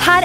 her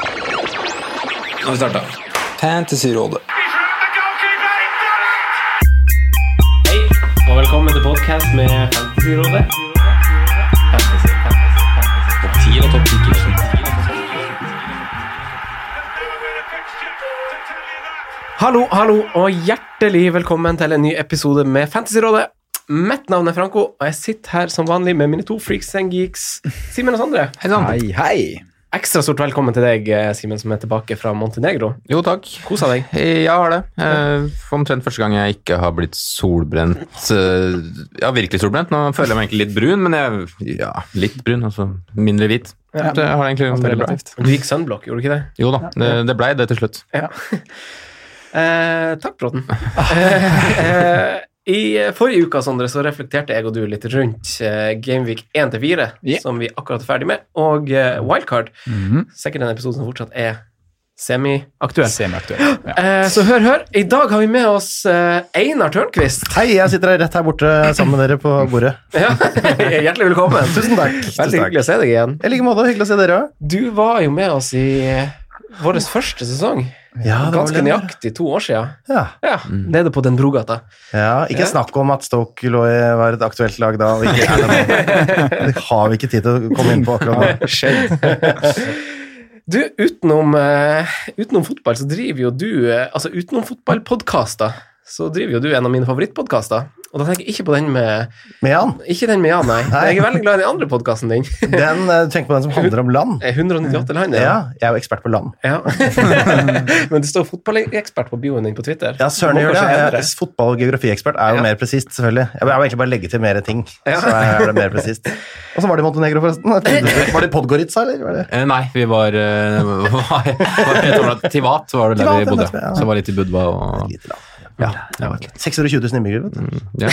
Nå har vi starta. Fantasyrådet. Hei, og velkommen til podcast med Fantasyrådet. Topp 10 og topp 10 Hallo, hallo, og hjertelig velkommen til en ny episode med Fantasyrådet. Mitt navn er Franco, og jeg sitter her som vanlig med mine to freaks and geeks, Simen og Sondre. Hei, hei. Ekstra stort velkommen til deg, eh, Simen, som er tilbake fra Montenegro. Jo, takk. Kosa deg. Jeg har det. Eh, for omtrent første gang jeg ikke har blitt solbrent. eh, Ja, virkelig solbrent. Nå føler jeg meg egentlig litt brun, men jeg Ja, litt brun, altså mindre hvit. Det har jeg egentlig veldig bra. Du gikk sunblock, gjorde du ikke det? Jo da, det, det blei det til slutt. Ja. Eh, takk, Bråten. Eh, eh, I forrige uke Sondre, så reflekterte jeg og du litt rundt eh, Gameweek 1-4, Ja. som vi akkurat er ferdig med, og eh, Wildcard. Mhm. Sikkert en episode som fortsatt er semiaktuell. Semiaktuell. Eh, så hør, hør. I dag har vi med oss eh, Einar Tørnquist. Hei, jeg sitter rett her borte sammen med dere på bordet. Ja. Hjertelig velkommen. Tusen takk. Veldig hyggelig å se deg igjen. I like måte. Hyggelig å se dere òg. Du var jo med oss i eh, vår første sesong. Ja, det Mm. var Ganske vel det. nøyaktig to år siden. Ja. Ja, Nede på Den Brogata. ja, ikke snakk om at Stoke lå i, var et aktuelt lag da. Og ikke er det, nå. det har vi ikke tid til å komme inn på akkurat nå. Du, utenom, eh, utenom fotball, så driver jo du eh, Altså utenom fotballpodkaster, så driver jo du en av mine favorittpodkaster. Og da tenker jeg ikke på den med Med han, Ikke den med Jan, nei. Jeg er veldig glad i den andre podkasten din. den, eh, tenk på den som handler om land. 198 land, Ja, jeg er jo ekspert på land. ja. Men det står fotballekspert på bioen din på Twitter. Ja, søren Du må gjør det. kanskje Jeg endre. er fotball- og geografiekspert er jo Ja. mer presist, selvfølgelig. Jeg må jeg må egentlig bare legge til mer ting, Ja. så er det mer presist. Og så var det i Montenegro, forresten. Var det Podgorica, eller? Var det? Eh, nei, vi var, eh, hva heter det? Tivat var det der vi Tivat, bodde. det er det, ja. Så var litt i Budva og Lite land. Ja. ja. 620 000 innbyggere, vet du. Ja.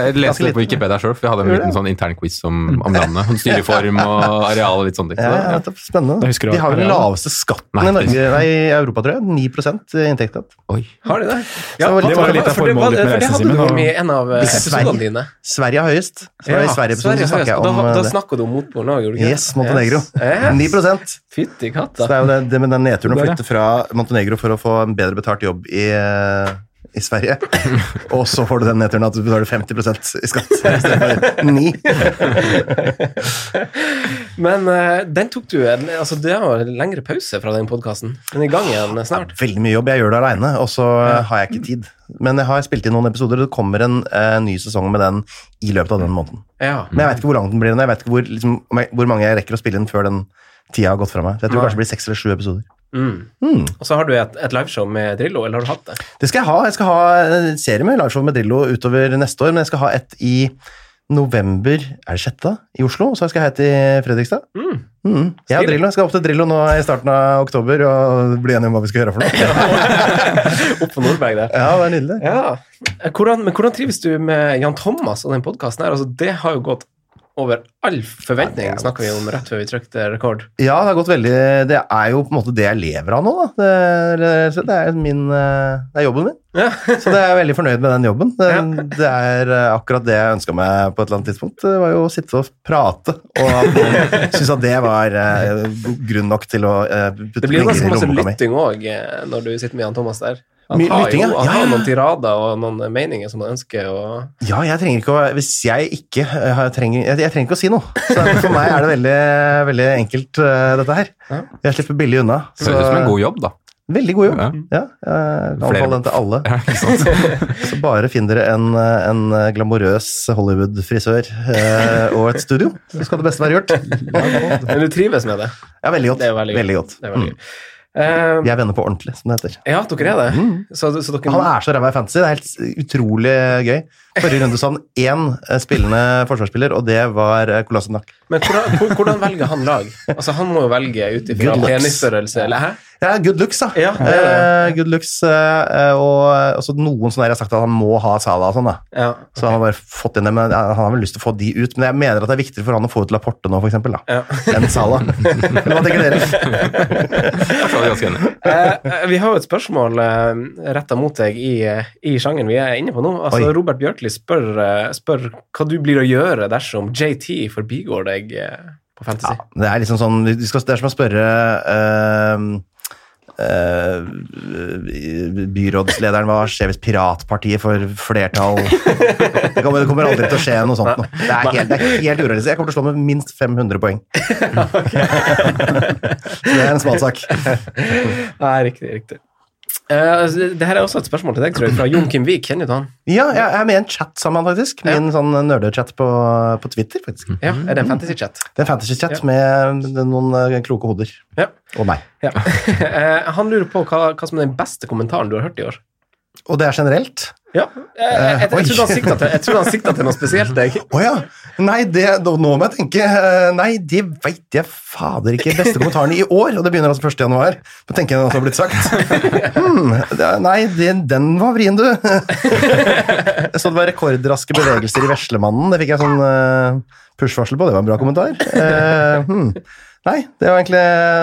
Jeg leste det på Wikipedia sjøl, for vi hadde en liten sånn intern quiz om, om landet. Om styreform og areal og litt sånne ting. Ja, Så, ja, ja. nettopp. Spennende. husker De det var har jo den areal. laveste skatten Nei, i Norge, nei, i Europa, tror jeg. 9 inntektsskatt. Oi. Har de det? Så det var litt av for det, var- formålet ditt med for det reisen, hadde du Simen, jo og- med i en av eh, episodene Sverige. dine. Sverige har høyest. Så var det I Sverige-episoden Sverige så snakket høyest, jeg og om da, eh, da det. snakket du om motpolen òg, gjorde du ikke? Yes, Montenegro. Yes. Eh, 9 Så Fytti det katta. er jo det, det med den nedturen å Det er flytte fra Montenegro for å få en bedre betalt jobb i, eh, i Sverige. Og så får du den nedturen at du betaler 50 i skatt istedenfor 9 Men eh, den tok du en- altså Det var en lengre pause fra den podkasten. Den er i gang igjen snart. Veldig mye jobb. Jeg gjør det aleine, og så eh, har jeg ikke tid. Men jeg har spilt inn noen episoder, og det kommer en eh, ny sesong med den i løpet av den måneden. Ja. Men jeg vet ikke hvor lang den blir. og Jeg vet ikke hvor, liksom, om jeg, hvor mange jeg rekker å spille inn før den tida har gått fra meg. Så jeg tror Nei. kanskje det blir seks eller sju episoder. Mm. Hmm. Og så har du et, et liveshow med Drillo, eller har du hatt det? Det skal jeg ha. Jeg skal ha en serie med liveshow med Drillo utover neste år, men jeg skal ha et i november er det sjette da, i Oslo, og så skal jeg ha et i Fredrikstad. Mm. Mm. Jeg og Stilig. Drillo jeg skal opp til Drillo nå i starten av oktober og bli enige om hva vi skal gjøre for noe. Opp på Nordberg der. Ja, det er nydelig. Ja. Eh, Hvordan, men hvordan trives du med Jan Thomas og den podkasten her? Altså, det har jo gått over all forventning, snakker vi om rett før vi trykte rekord. Ja, det har gått veldig Det er jo på en måte det jeg lever av nå, da. Det er, det er, min, eh, det er jobben min. Ja. Så det er jeg veldig fornøyd med den jobben. Det, Ja. det er eh, akkurat det jeg ønska meg på et eller annet tidspunkt. Det var jo å sitte og prate, og at noen syntes at det var eh, grunn nok til å eh, Det putte blir jo penger ganske i masse lommeboka mi. lytting òg når du sitter med Jan Thomas der. Han Mye har lytting, jo ja. Ja, han har ja. noen tirader og noen eh, meninger som han ønsker å Ja, jeg trenger ikke å Hvis jeg ikke eh, har- trenger Jeg, jeg trenger ikke å si noe. Så for meg er det veldig, veldig enkelt, eh, dette her. Ja. Jeg slipper billig unna. Det høres ut som en god jobb, da. Veldig god jobb. Ja. Ja, jeg Flere- anbefaler den til alle. Ja, ikke sant? Så bare finn dere en, eh, en eh, glamorøs Hollywood-frisør eh, og et studio, så skal det beste være gjort. Men du trives med det. Ja, veldig godt. Det er veldig veldig, gøy. godt. Det er veldig Mm. gøy. Eh, Vi er venner på ordentlig, som det heter. ja, dere er det. Så, så dere Mm. Han er så ræva i fantasy. Det er helt s- utrolig gøy. Forrige runde så han én eh, spillende forsvarsspiller, og det var eh, Kolassenak. Men hvordan, hvor- hvordan velger han lag? Altså, Han må jo velge ut ifra Good looks. penisstørrelse, eller hæ? Ja, good looks, da. Ja, det er Eh, good looks, eh, eh, og og så noen sånne der jeg har sagt at han må ha Salah og sånn, da. Ja. Så han har bare fått inn det, men han har vel lyst til å få de ut. Men jeg mener at det er viktigere for han å få ut Laporte nå, for eksempel, da, Ja. enn Salah. Men Hva tenker dere? Jeg er ganske enig. Eh, eh, vi har jo et spørsmål eh, retta mot deg i, eh, i sjangeren vi er inne på nå. Altså, Oi. Robert Bjørkli spør, eh, spør hva du blir å gjøre dersom JT forbigår deg eh, på Fantasy. Det er liksom sånn, vi skal, det er som å spørre ehm, eh, eh, byrådslederen hva skjer hvis piratpartiet får flertall. Det kommer, det kommer aldri til å skje noe sånt nå. Det er helt, det er helt urealistisk. Jeg kommer til å slå med minst 500 poeng. Så det er en smalsak. Nei, riktig. riktig. Eh, altså, det her er også et spørsmål til deg, tror jeg, fra Jon Kim Vik. Kjenner du til han? Ja, jeg er med i en chat sammen, faktisk. Min sånn nerdechat på, på Twitter, faktisk. Ja, Er det en fantasy-chat? Det er en fantasy-chat Ja. med noen eh, kloke hoder. Ja. Og meg. Ja. Eh, han lurer på hva, hva som er den beste kommentaren du har hørt i år. Og det er generelt? Ja, jeg, Eh, jeg, jeg, jeg, trodde han Eh, oi. sikta til, jeg trodde han sikta til noe spesielt. Jeg. Å ja! Nei, det, nå nå må jeg tenke. eh, Nei, det veit jeg fader ikke. Beste kommentaren i år, og det begynner altså 1. januar. Da tenker jeg at det har blitt sagt. Hmm, det- nei, det, den var vrien, du. Jeg så det var rekordraske bevegelser i Veslemannen. Det fikk jeg sånn eh, push-varsel på. Det var en bra kommentar. Eh, hmm. Nei, det var egentlig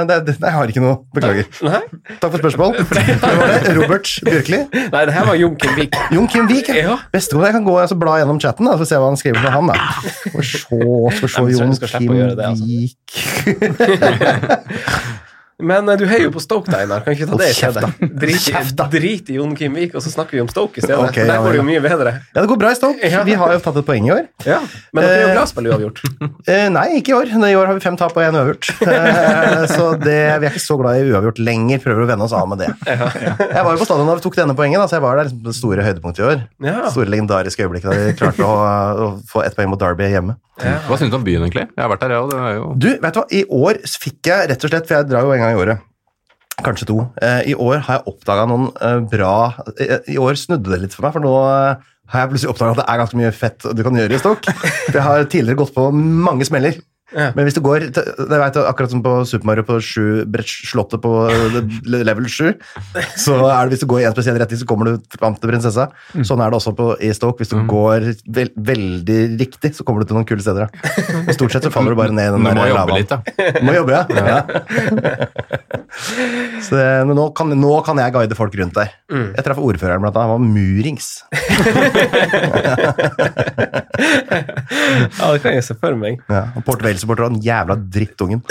det, det, nei, Jeg har ikke noe. Beklager. Nei? Takk for spørsmål. Det var det. Robert Bjørkli. Nei, det her var Jon Kimvik. Jon Kim Vik, Ja. Bestekommende. Jeg kan gå og så bla gjennom chatten da, for å se hva han skriver for han. da. Og se, skal vi se Nei, men så- Jon du skal slippe Kim å gjøre det, altså. Vik Men eh, du heier jo på Stoke, da, Einar. Kan ikke vi ta det i Hold kjeft, da. stedet? Drit, i- Kjeft, da. drit i Jon Kimvik, og så snakker vi om Stoke i stedet. Ok, For ja, der går det jo vel. mye bedre. Ja, det går bra i Stoke. Ja. Vi har jo tatt et poeng i år. Ja. Men dere er jo Eh, glad i å spille uavgjort. Eh, nei, ikke i år. I år har vi fem tap og én uavgjort. Eh, så det, vi er ikke så glad i uavgjort lenger. Prøver å vende oss av med det. Jeg var jo på stadion da vi tok denne poengen. da, så jeg var der liksom, på det store høydepunktet i år. Ja. Store legendariske øyeblikk da vi klarte å, å få ett poeng mot Derby hjemme. Hva syns du om byen, egentlig? Jeg har vært der, jeg òg. Det er jo Du, vet du hva? I år fikk jeg rett og slett, for jeg drar jo en gang i året, kanskje to, eh, i år har jeg oppdaga noen eh, bra eh, I år snudde det litt for meg, for nå eh, har jeg plutselig oppdaga at det er ganske mye fett du kan gjøre i stokk. For jeg har tidligere gått på mange smeller. Ja. Men hvis du går til, det vet jeg, Akkurat som på Super Mario på sju- brett- slottet på eh, level 7, så er det hvis du går i en spesiell retning, så kommer du fram til prinsessa. Sånn er det også på, i Stoke. Hvis du går vel- veldig riktig, så kommer du til noen kule steder. ja. Og stort sett så faller du bare ned i den Du må der jobbe lavaen. litt, da. Må jobbe, ja. Så det, men nå kan, nå kan jeg guide folk rundt der. Mm. Jeg traff ordføreren blant annet. Han var murings. Ja, det kan jeg se for meg. Ja, og Port Vale-supporter og den jævla drittungen.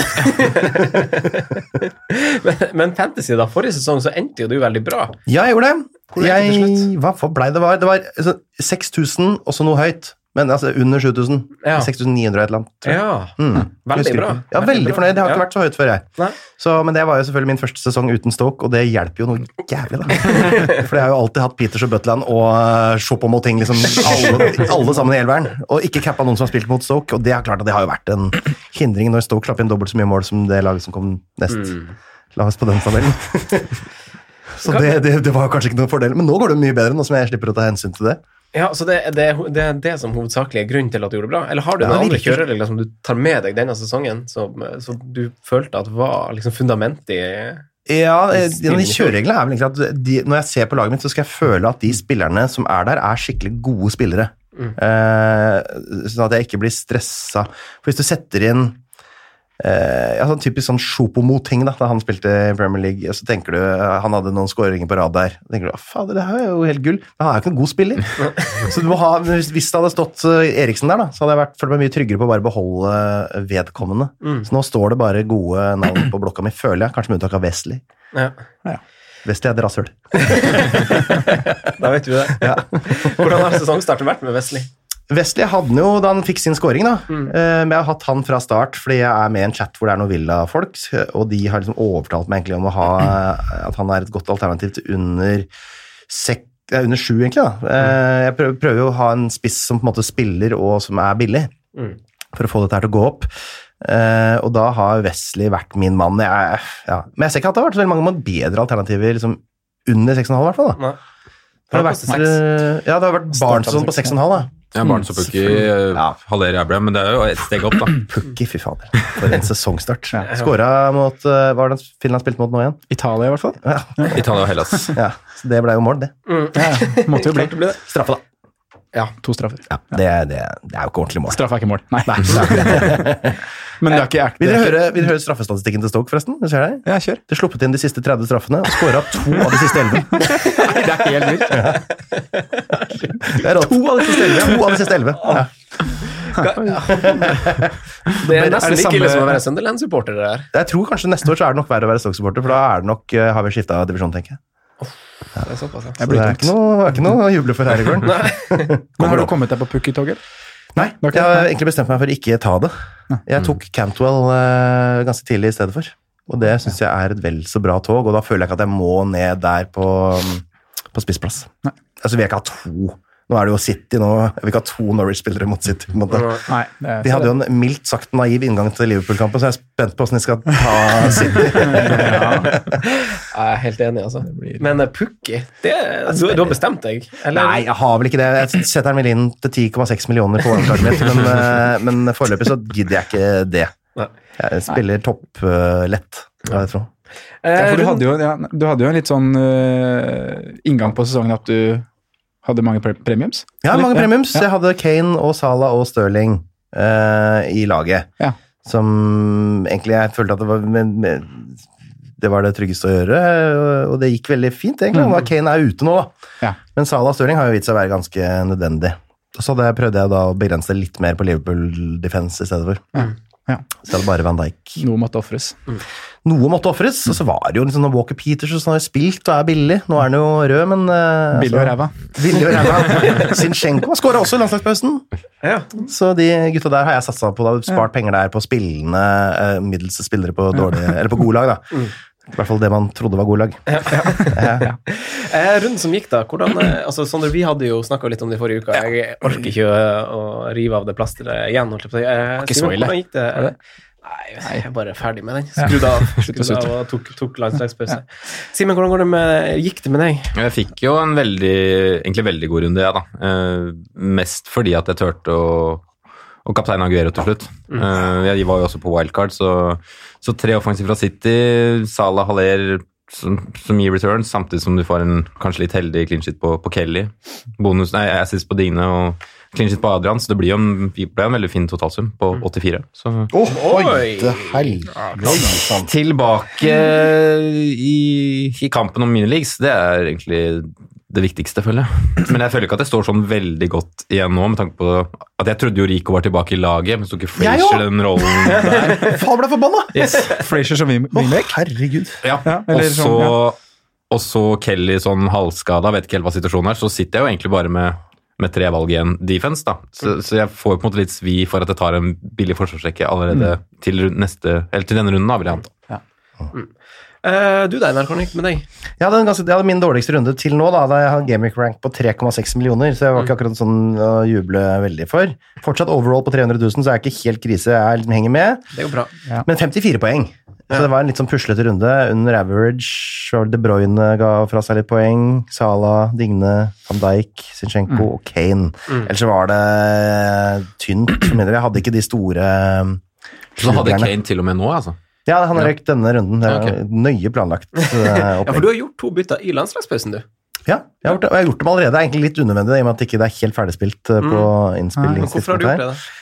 Men, men Fantasy, da. Forrige sesong så endte jo du veldig bra. Ja, jeg gjorde det. Hvor er det til Jeg, hva for blei det var? Det var altså, 6000, og så noe høyt. Men altså under 7000. Ja. 6900 og et eller annet. tror jeg. Ja. Mm. Veldig Husker bra. ikke. Ja, veldig fornøyd. Det har ikke vært så høyt før, Nei. jeg. Så, men det var jo selvfølgelig min første sesong uten Stoke, og det hjelper jo noe jævlig, da. For jeg har jo alltid hatt Peters og Butland og eh, Chopin og Moting, liksom alle, alle sammen i elveren, og ikke cappa noen som har spilt mot Stoke, og det er klart at det har jo vært en hindring når Stoke slapp inn dobbelt så mye mål som det laget som kom nest. La oss på den tabellen. Så det, det, det var jo kanskje ikke noen fordel, men nå går det mye bedre, nå som jeg slipper å ta hensyn til det. Ja, så det, det, det er det som hovedsakelig er grunnen til at du gjorde det bra? Eller har du Ja, noen andre virkelig. kjøreregler som du tar med deg denne sesongen, som, eh, som du følte at var liksom fundamentet i Ja, eh, Stilling. de kjørereglene er vel egentlig at de, når jeg ser på laget mitt, så skal jeg føle at de spillerne som er der, er skikkelig gode spillere. Eh, sånn at jeg ikke blir stressa. For hvis du setter inn eh, ja, sånn typisk sånn Sjopomo-ting da, da han spilte i Premier League, og så tenker du eh, han hadde noen skåringer på rad der. Da tenker du «Å, fader, det her er jo helt gull, men han er jo ikke en god spiller. så du må ha, hvis, hvis det hadde stått eh, Eriksen der, da, så hadde jeg vært, følt meg mye tryggere på å bare beholde vedkommende. Så nå står det bare gode navn på blokka mi, føler jeg, kanskje med unntak av Wesley. ja. Wesley er et rasshøl. Da vet vi det. Hvordan har sesongstarten vært med Wesley? Wesley hadde han jo da han fikk sin scoring, da. Eh, Men jeg har hatt han fra start fordi jeg er med i en chat hvor det er noen Villa-folk, og de har liksom overtalt meg egentlig om å ha eh, at han er et godt alternativ til under sek, eh, under sju, egentlig. da. Eh, Jeg prøver, prøver jo å ha en spiss som på en måte spiller og som er billig, for å få dette her til å gå opp. Eh, og da har Wesley vært min mann. Jeg, ja. Men jeg ser ikke at det har vært så veldig mange bedre alternativer liksom, under 6,5, i hvert fall. da. Nei. For Det har koster vært, eh, ja, det har vært Barnson på 6,5, da. Ja, Barents og Pukki Ja. halverer jævla, men det er jo et steg opp, da. Pukki, fy fader. For en sesongstart. Skåra mot eh, Hva var det Finland spilte mot nå igjen? Italia, i hvert fall. Italia og Hellas. Ja, så Det ble jo mål, det. Ja, ja. måtte jo bli. Straffe, da. Ja, to straffer. Det, er- det, er- det er jo ikke ordentlig mål. Straff er ikke mål. Nei. Men det er ikke det Vil dere er ikke- høre, vil dere høre straffestatistikken til Stoke, forresten? Det ser jeg. Ja, kjør. De sluppet inn de siste 30 straffene og skåra to av de siste 11. Nei, det er helt vilt. Det er rått. To av de siste 11. To av de siste 11. Ja. Det er er nesten det like ille samme- som å være Sunderland-supporter. det der. Jeg tror kanskje neste år så er det nok verre å være Stoke-supporter, for da er det nok, eh, har vi skifta divisjon, tenker jeg. Det er såpass, Jeg altså. ja. Så det blir er tungt. ikke noe, det er ikke noe å juble for her i gården. Men har du kommet deg på pukki-toget? Nei, Ok. jeg har egentlig bestemt meg for å ikke ta det. Jeg tok Cantwell eh, ganske tidlig i stedet for. Og det syns jeg er et vel så bra tog, og da føler jeg ikke at jeg må ned der på, mm, på spissplass. Altså, vi har ikke hatt to. Nå er det jo City nå. Jeg vil ikke ha to Norwich-spillere mot City. på en måte. Nei. det er- De hadde jo en mildt sagt naiv inngang til Liverpool-kampen, så jeg er spent på åssen de skal ta City. Jeg er helt enig, altså. Men eh, Pukki det, du, du har bestemt deg? Eller? Nei, jeg har vel ikke det. Jeg setter den vel inn til 10,6 millioner på overslaget mitt, men, eh, men foreløpig så gidder jeg ikke det. Nei. Jeg spiller topplett, hva jeg tror. Eh, Ja, for du Runden- hadde jo, ja, du hadde jo en litt sånn øh, inngang på sesongen at du hadde mange pre premiums. Ja, Eller- mange premiums. Ja. Jeg hadde Kane og Salah og Sterling eh, i laget. Ja. Som egentlig jeg følte at det var men, men, det var det tryggeste å gjøre, og det gikk veldig fint, egentlig. Da Kane er ute nå, da. Mm. Ja. Men Salah og Sterling har jo vist seg å være ganske nødvendig. Og så hadde jeg prøvde jeg da å begrense litt mer på Liverpool defense i stedet for. Ja. Så det var bare Van Dijk. Noe måtte ofres. Noe måtte ofres, og så var det jo liksom når Walker Peters og sånn har jo spilt og er billig. Nå er han jo rød, men eh, Billig og altså- ræva. Billig og ræva. Zinchenko skåra også i landslagspausen. Ja. Så de gutta der har jeg satsa på. Da. Spart penger der på spillende eh, middels spillere på, dårlige, eller på gode lag. Da. I hvert fall det man trodde var gode lag. Eh, runden som gikk, da. hvordan, eh, altså Sondre, vi hadde jo snakka litt om det i forrige uke. Jeg orker ikke å, å rive av det plasteret igjen. Holdt jeg på. å si. Eh, ikke Simen, så ille. Hvordan gikk det? Er det? Nei, jeg er bare ferdig med den. Skrudd av, å skrudd av og tok, tok landslagspause. Simen, hvordan går det med, gikk det med deg? Jeg fikk jo en veldig, egentlig veldig god runde, jeg, da. Eh, mest fordi at jeg turte å og kaptein Aguero til slutt. Mm. Eh, jeg var jo også på wildcard, så, så tre offensiv fra City, Salah Haller som, som gir returns, samtidig som du får en kanskje litt heldig clean shit på, på Kelly. Bonus, nei, assist på Dine og clean shit på Adrian, så det blir jo en, det ble en veldig fin totalsum på Mm. 84. Så Eh, Oi! tilbake i, i kampen om minileagues, det er egentlig det viktigste, føler jeg. Men jeg føler ikke at jeg står sånn veldig godt igjen nå, med tanke på at jeg trodde jo Rico var tilbake i laget, men så tok Jeg Frazier den rollen der. Faen, ble jeg forbanna! Yes. Frazier som wing- wingback. herregud. Ja. Ja, Og eller så sånn, ja. og så Kelly sånn halvskada, vet ikke helt hva situasjonen er. Så sitter jeg jo egentlig bare med, med tre valg igjen defense, da. Så, så jeg får på en måte litt svi for at jeg tar en billig forsvarsrekke allerede Mm. til, rund- neste, eller til denne runden, da, vil jeg anta. Eh, du Deinar, hvordan gikk det med deg? Jeg hadde, en ganske, jeg hadde min dårligste runde til nå. da, da Jeg hadde Gameweek rank på 3,6 millioner, så jeg var ikke akkurat sånn å juble veldig for. Fortsatt overall på 300 000, så jeg er ikke helt krise. Jeg liksom henger med. Det går bra. Men 54 poeng. Så det var en litt sånn puslete runde. Under average var det De Bruyne ga fra seg litt poeng. Salah, Digne, Van Dijk, Zinchenko og Kane. Ellers så var det tynt. for min del. Jeg hadde ikke de store Så hadde slugerne. Kane til og med nå, altså. Ja, han har røykt denne runden. Det Ja, er Nøye planlagt. eh, Ja, for opplegg. du har gjort to bytter i landslagspausen, du. Ja, jeg har gjort det, og jeg har gjort dem allerede. Det er egentlig litt unødvendig i og med at det ikke er helt ferdigspilt eh, på Men hvorfor har du innspillingstidspunktet gjort her. det? da?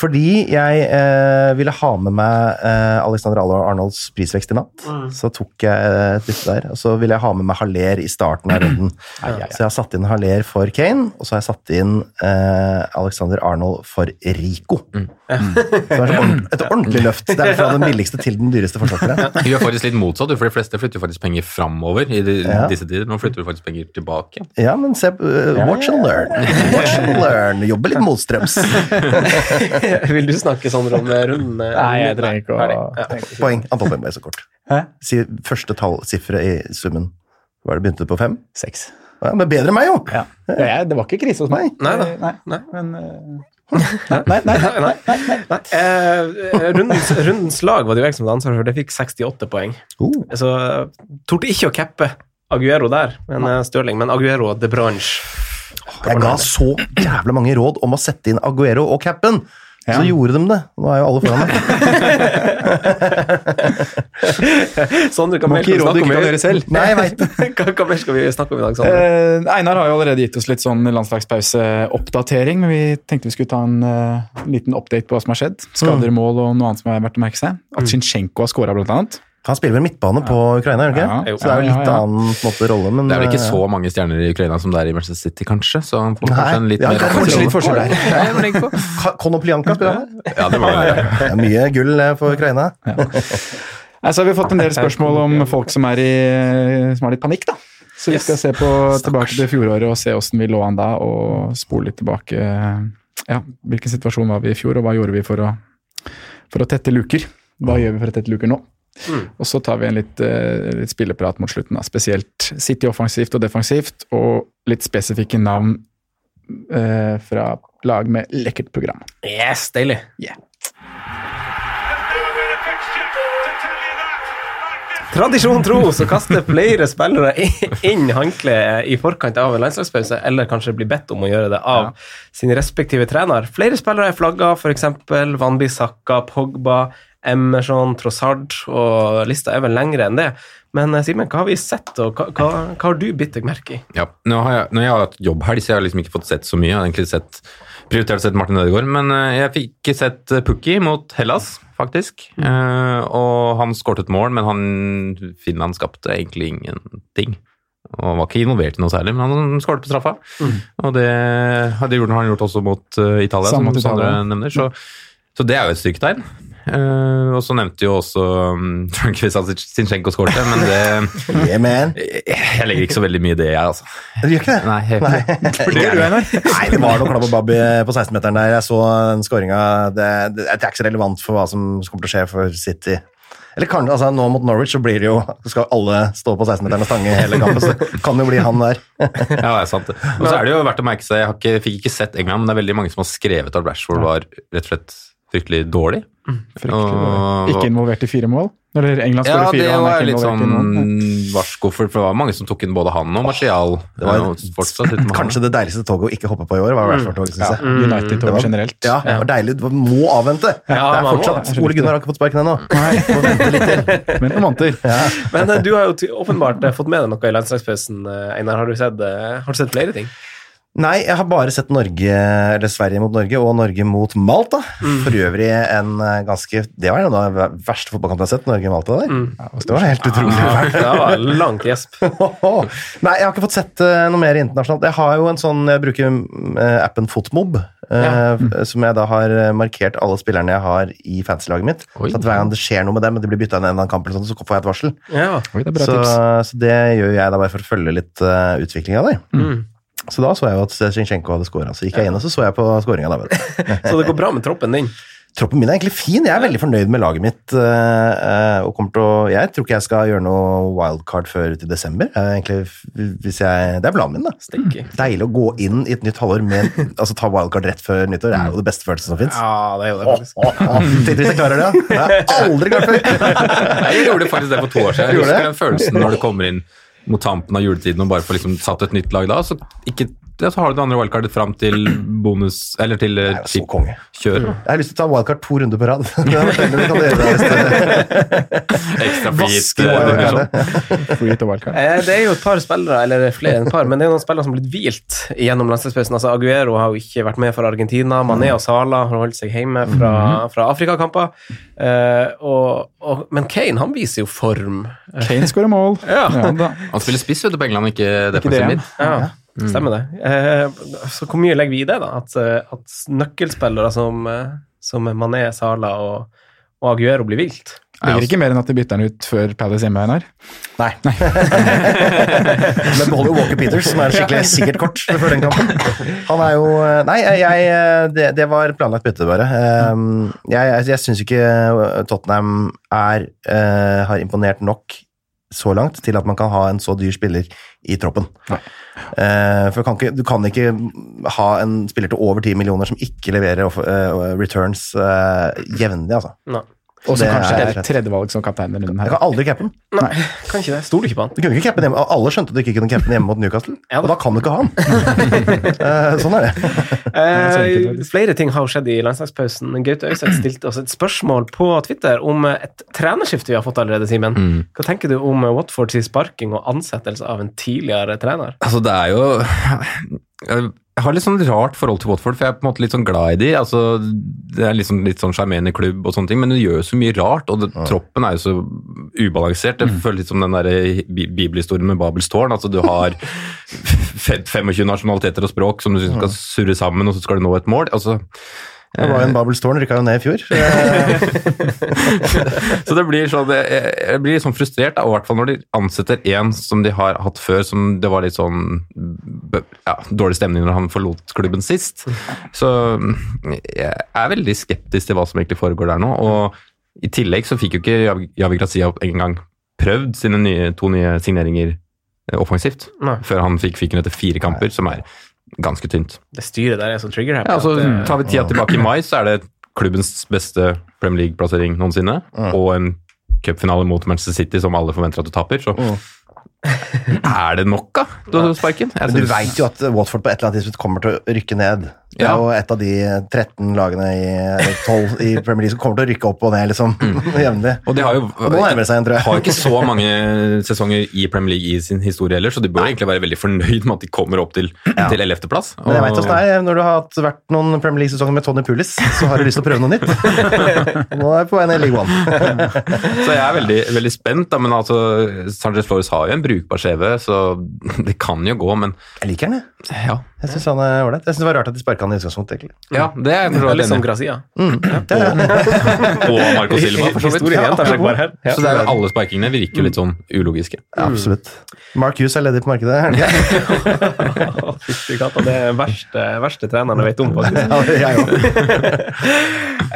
Fordi jeg eh, ville ha med meg eh, Alexander Arnolds prisvekst i natt, så tok jeg eh, et bytte der. Og så ville jeg ha med meg Haller i starten av runden. Så jeg har satt inn Haller for Kane, og så har jeg satt inn eh, Alexander Arnold for Rico. Så det er et ordent- et ordentlig løft. Det er fra den billigste til den dyreste forsvarsspilleren. Du er faktisk litt motsatt, du, for de fleste flytter jo faktisk penger framover i de, Ja. disse tider. Nå flytter du faktisk penger tilbake. Ja, men se, eh, watch and learn. Watch and learn. Jobbe litt motstrøms. Vil du snakke, Sander, om runden? eh, Nei, jeg trenger ikke å- Ferdig. Ja. Poeng. Antall poeng ble så kort. Hæ? Si første tallsifferet i summen. Hva er det begynte det på fem? Seks. Ja, men bedre enn meg, jo! Ja. Det, er, det var ikke krise hos meg. Nei da. Eh, Nei, Men, eh, nei, nei, nei, nei, nei, nei. Nei, eh, rundens, rundens lag var det jo jeg som hadde ansvar for. Det fikk 68 poeng. Oh. Så eh, torde ikke å cappe Aguero der, men eh, Stirling. Men Aguero de Branche. Jeg ga så jævla mange råd om å sette inn Aguero og capen. Så gjorde de det. Nå er jo alle foran meg. Sander, hva Må mer ikke gi skal råd du ikke vi snakke kan om? i- gjøre selv. Nei, jeg vet det. Hva, hva mer skal vi snakke om i dag, Sander? Eh, Einar har jo allerede gitt oss litt sånn landslagspauseoppdatering, men vi tenkte vi skulle ta en eh, liten update på hva som har skjedd. Mm. Skader, mål og noe annet som er verdt å merke seg. At Zinchenko har skåra, blant annet. Han spiller vel midtbane på Ukraina, gjør han Ja. ikke? Så det er jo Ja, ja, litt ja. annen på en måte, rolle, men Det er vel ikke eh, så mange stjerner i Ukraina som det er i Manchester City, kanskje? Så han får Nei, kanskje en litt ja, mer det er kanskje litt forskjell der. Ja, jeg må tenke på. Ka- Konoplyanka spiller han der. Ja, det var det. Det er mye gull eh, for Ukraina. Nei, så har vi fått en del spørsmål om folk som er i som har litt panikk, da. Så vi skal se på, tilbake til fjoråret og se åssen vi lå an da, og spole litt tilbake. Ja, hvilken situasjon var vi i fjor, og hva gjorde vi for å, for å tette luker? Hva gjør vi for å tette luker nå? Og så tar vi en litt, eh, litt spilleprat mot slutten, da. spesielt City offensivt og defensivt, og litt spesifikke navn eh, fra lag med lekkert program. Yes, deilig. Tradisjon tro så kaster flere spillere i- inn håndkleet i forkant av en landslagspause, eller kanskje blir bedt om å gjøre det av sin respektive trener. Flere spillere er flagga, f.eks. Van Bissaka, Pogba, Emerson, Trossard, og lista er vel lengre enn det. Men eh, Simen, hva har vi sett, og hva, hva, hva har du bitt deg merke i? Ja. Nå har jeg, når jeg har hatt jobbhelg, så jeg har liksom ikke fått sett så mye. Jeg har egentlig sett, prioritert å sett Martin Ødegaard, men eh, jeg fikk sett eh, Pukki mot Hellas, faktisk. Eh, og han skåret et mål, men han, Finland skapte egentlig ingenting. Og han var ikke involvert i noe særlig, men han skåret på straffa. Mm. Og det, det gjorde han gjort også mot eh, Italia, Samme som Sandre Italia. nevner. Så, så det er jo et stygt tegn. Eh, og så nevnte jo også um, Sinchenko skårte, men det, Yeah, man. jeg, jeg legger ikke så veldig mye i det, jeg, altså. Du gjør ikke det? Nei, jeg, Nei, det var noe klabb og babb i- på 16-meteren der. Jeg så den skåringa. Det, det, det er ikke så relevant for hva som kommer til å skje for City. Eller kan, altså, Nå mot Norwich så blir det jo, skal alle stå på 16-meteren og stange hele kampen. Så kan det jo bli han der. Ja, det er sant. det. Og så er det jo verdt å merke seg, jeg har ikke, fikk ikke sett England, men det er veldig mange som har skrevet at Rashford var rett og slett fryktelig dårlig. Fryktelig. Og- Ikke involvert i fire mål? Eller England Ja, skårer det fire, og han var er litt ikke involvert i noen. Nei. sånn varsko, for for det var mange som tok inn både han og Martial. Det var- var fortsatt litt med han. Kanskje det deiligste toget å ikke hoppe på i år, var Rashford-toget, syns jeg. Mm. Mm, United Det over var- generelt. Ja, det var deilig. Du må avvente. Ja, det er man må fortsatt, det. Ole Gunnar har ikke fått sparken ennå. Må vente litt til. Men noen måneder. Men eh, du har jo ty- åpenbart eh, fått med deg noe i landslagspausen, eh, Einar. Har du sett, eh, har du sett flere ting? Nei, jeg har bare sett Norge, eller Sverige mot Norge og Norge mot Malta. For øvrig en eh, ganske Det var en av de verste fotballkampene jeg har sett. Norge-Malta der. Det var helt utrolig. Ja, det var langt gjesp. Nei, jeg har ikke fått sett eh, noe mer internasjonalt. Jeg har jo en sånn, jeg bruker mm, eh, appen Fotmob, eh, f- som jeg da har eh, markert alle spillerne jeg har i fantasy-laget mitt. Oi. Så at hver gang det skjer noe med dem, og de blir bytta inn i en eller annen kamp, eller sånn, så får jeg et varsel. Ja. Oi, det er bra Så, tips. så det gjør jeg da bare for å følge litt uh, utviklinga der. Mm. Så da så jeg jo at Zinchenko hadde skåra. Så gikk jeg inn og så så jeg på skåringa. da, vet du. Så det går bra med troppen din. Troppen min er egentlig fin. Jeg er veldig fornøyd med laget mitt. eh, eh, og kommer til å, Jeg tror ikke jeg skal gjøre noe wildcard før til desember. Eh, egentlig, hvis jeg, det er planen min, da. Stinky. Deilig å gå inn i et nytt halvår med altså ta wildcard rett før nyttår. Det er jo det beste følelsen som fins. Ja, det er jo det, Åh, faktisk. åh, åh. Tenk hvis jeg klarer det, da. Det har jeg aldri klart før! Jeg gjorde faktisk det for to år siden. Jeg Gjorde husker det? den følelsen når du kommer inn mot tampen av juletiden og bare får liksom satt et nytt lag da, så ikke ja, så har du det andre wildcardet fram til bonus Eller til eh, chip. Kjør. Jeg har lyst til å ta wildcard to runder på rad. Det er fortell om vi kan gjøre det hvis Ekstra Vaske flit. eh, wildcardet. dimensjon. Eh, Det er jo et par spillere, eller flere enn et par, men det er noen spillere som har blitt hvilt gjennom landslagspausen. Altså, Aguero har jo ikke vært med for Argentina. Mané og Sala har holdt seg hjemme fra, fra Afrikakamper. Eh, og, og, men Kane han viser jo form. Kane skårer mål. Ja. da. Han spiller spiss vet du, på England, ikke defensiv det, midt. Ja, stemmer det. Eh, så hvor mye legger vi i det, da? At, eh, at nøkkelspillere som, eh, som Mané, Sala og, og Aguero blir vilt? Legger ikke mer enn at de bytter den ut før Palace hjemme, Einar. Nei. Men beholder jo Walker Peters, som er et skikkelig sikkert kort før den kampen. Han er jo eh, Nei, jeg, eh, det, det var planlagt bytte, bare. Um, Jeg, jeg, jeg syns ikke eh, Tottenham er, eh, har imponert nok så langt til at man kan ha en så dyr spiller i troppen. Eh, For kan ikke, du kan ikke ha en spiller til over 10 millioner som ikke leverer off- eh, returns eh, jevnlig, altså. Nei. Og så Det kanskje er er tredjevalg som kaptein denne runden Jeg her. kan aldri cappe den. Nei, kan ikke det. Stoler ikke på han. Du kunne ikke cappe den hjemme. Alle skjønte at du ikke kunne cappe den hjemme mot Newcastle, Ja da. og da kan du ikke ha den. Eh, sånn er det. Eh, flere ting har jo skjedd i landslagspausen. Gaute Øyseth stilte oss et spørsmål på Twitter om et trenerskifte vi har fått allerede, Simen. Hva tenker du om Watfords sparking og ansettelse av en tidligere trener? Altså, det er jo Jeg har litt sånn rart forhold til Watford, for jeg er på en måte litt sånn glad i de. Altså, det er liksom litt sånn sjarmerende klubb og sånne ting, men de gjør jo så mye rart. Og det, troppen er jo så ubalansert. Det føles litt som den derre bi- bibelhistorien med Babels tårn. Altså, du har fe- 25 nasjonaliteter og språk som du synes skal surre sammen, og så skal du nå et mål. Altså, Det var jo Eh. en Babels tårn, rykka jo ned i fjor. Eh, Så det blir sånn, jeg, jeg- jeg blir litt sånn frustrert, da, og i hvert fall når de ansetter en som de har hatt før, som det var litt sånn b- ja, dårlig stemning når han forlot klubben sist. Så mm, jeg er veldig skeptisk til hva som egentlig foregår der nå. Og i tillegg så fikk jo ikke Javi- Javi Grazia opp engang prøvd sine nye, to nye signeringer eh, offensivt, Nei. før han fikk fyken etter fire kamper, som er ganske tynt. Det styret der er så trigger happy. Ja, altså, at det- tar vi tida tilbake i mai, så er det klubbens beste Premier League-plassering noensinne. Og en cupfinale mot Manchester City som alle forventer at du taper. Så er det nok, da? Du har sparken? Jeg Mm. Men du synes- veit jo at Watford på et eller annet tidspunkt kommer til å rykke ned. Det er Ja. jo et av de 13 lagene i, eller 12 i Premier League som kommer til å rykke opp og ned liksom, jevnlig. Mm. Og de har jo Og nå nærmer det seg igjen, tror jeg. har ikke så mange sesonger i Premier League i sin historie heller, så de bør egentlig være veldig fornøyd med at de kommer opp til, til 11. plass. Men jeg vet hvordan det er. Når du har hatt- vært noen Premier League-sesonger med Tony Pulis, så har du lyst til å prøve noe nytt. Nå er vi på vei ned i League One. Så jeg er veldig, veldig spent, da, men altså, Sanchez Flores har jo en brukbar CV, så det kan jo gå, men Jeg liker den, jeg. ja. Jeg syns han er ålreit. Jeg syns det var rart at de sparka han i utgangspunktet, egentlig. Ja, det er jeg for så det er vidt enig liksom litt som i. Grazia. Og Marco Silva, for så vidt. Historien gjentar seg bare her. Ja. Så det er jo alle sparkingene virker jo litt sånn ulogiske. Ja, absolutt. Mark Hughes er ledig på markedet, er han ikke? Å, Fytti katta, det er den verste, verste treneren jeg vet om, faktisk. Ja, jeg òg.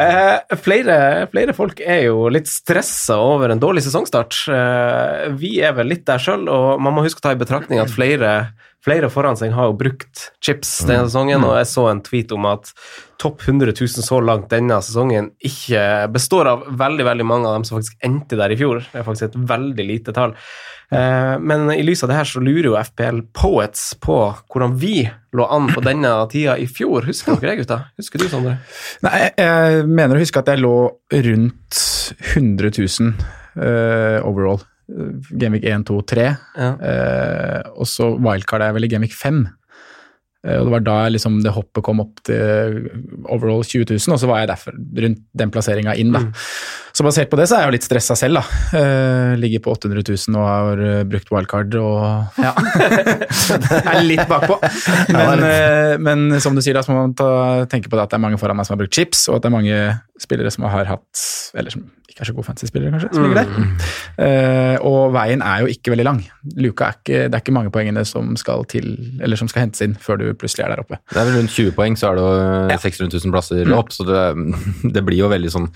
Eh, flere, flere folk er jo litt stressa over en dårlig sesongstart. Eh, vi er vel litt der sjøl, og man må huske å ta i betraktning at flere, flere foran seg har jo brukt chips denne sesongen, og jeg så en tweet om at topp 100 000 så langt denne sesongen ikke består av veldig veldig mange av dem som faktisk endte der i fjor. Det er faktisk et veldig lite tall. Eh, Men i lys av det her så lurer jo FPL Poets på hvordan vi lå an på denne tida i fjor. Husker dere det, gutta? Husker du, Sondre? Nei, jeg- jeg mener å huske at jeg lå rundt 100 000 eh, overall. Eh, Gameweek 1, 2, 3. Ja. Eh, og så wildcardet jeg vel i Gameweek 5. Eh, og det var da jeg liksom det hoppet kom opp til overall 20 000, og så var jeg derfor rundt den plasseringa inn, da. Så basert på det så er jeg jo litt stressa selv, da. Eh, ligger på 800 000 og har eh, brukt wildcard og ja. er litt bakpå. Men, eh, men som du sier, da, så må man ta, tenke på det at det er mange foran meg som har brukt chips, og at det er mange spillere som har hatt Eller som ikke er så gode fantasy-spillere, kanskje, som ligger der. Eh, og veien er jo ikke veldig lang. Luka er ikke, det er ikke mange poengene som skal til, eller som skal hentes inn før du plutselig er der oppe. Det er vel rundt 20 poeng, så er det jo eh, 600 000 plasser opp, så det, det blir jo veldig sånn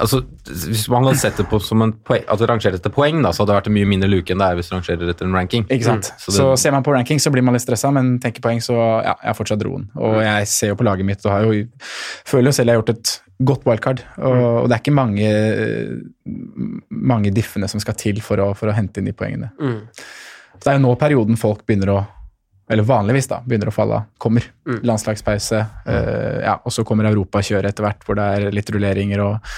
Altså, hvis man hadde sett det på som en poeng, at det rangerer etter poeng, da, så hadde det vært en mye mindre luke enn det er hvis det rangerer etter en ranking. Ikke sant? Mm. Så Så, det- ser man på ranking, så blir man litt stressa, men tenker poeng, så ja, jeg har fortsatt roen. Og jeg ser jo på laget mitt og har jo, føler jo selv jeg har gjort et godt wildcard. Og, og det er ikke mange, eh, mange diffene som skal til for å, for å hente inn de poengene. Så det er jo nå perioden folk begynner å eller vanligvis da, begynner å falle av, kommer. Mm. Landslagspause, eh, ja, og så kommer europakjøret etter hvert, hvor det er litt rulleringer og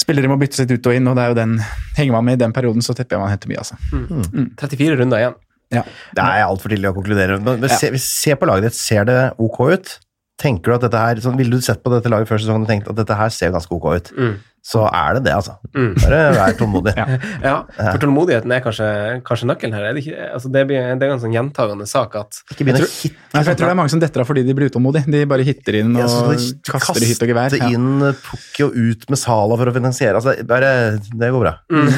spillere må byttes litt ut og inn, og det er jo den Henger man med i den perioden, så tipper jeg man henter mye, altså. 34 runder igjen. Det er altfor tidlig å konkludere. Men men se, se på laget ditt. Ser det ok ut? Tenker du at dette her, sånn, Ville du sett på dette laget før sesongen og tenkt at dette her ser ganske ok ut? Mm. Så er det det, altså. Mm. Bare vær tålmodig. Ja, for tålmodigheten er kanskje, kanskje nøkkelen her. Er det, ikke, altså det, blir, det er en sånn gjentagende sak at Ikke begynn å hitte, Nei, for jeg tror det er mange som detter av fordi de blir utålmodige. De bare hitter inn og altså, kaster i hytt og gevær. kaste Ja. inn Pukki og ut med Sala for å finansiere. Altså, bare, det går bra. Mm.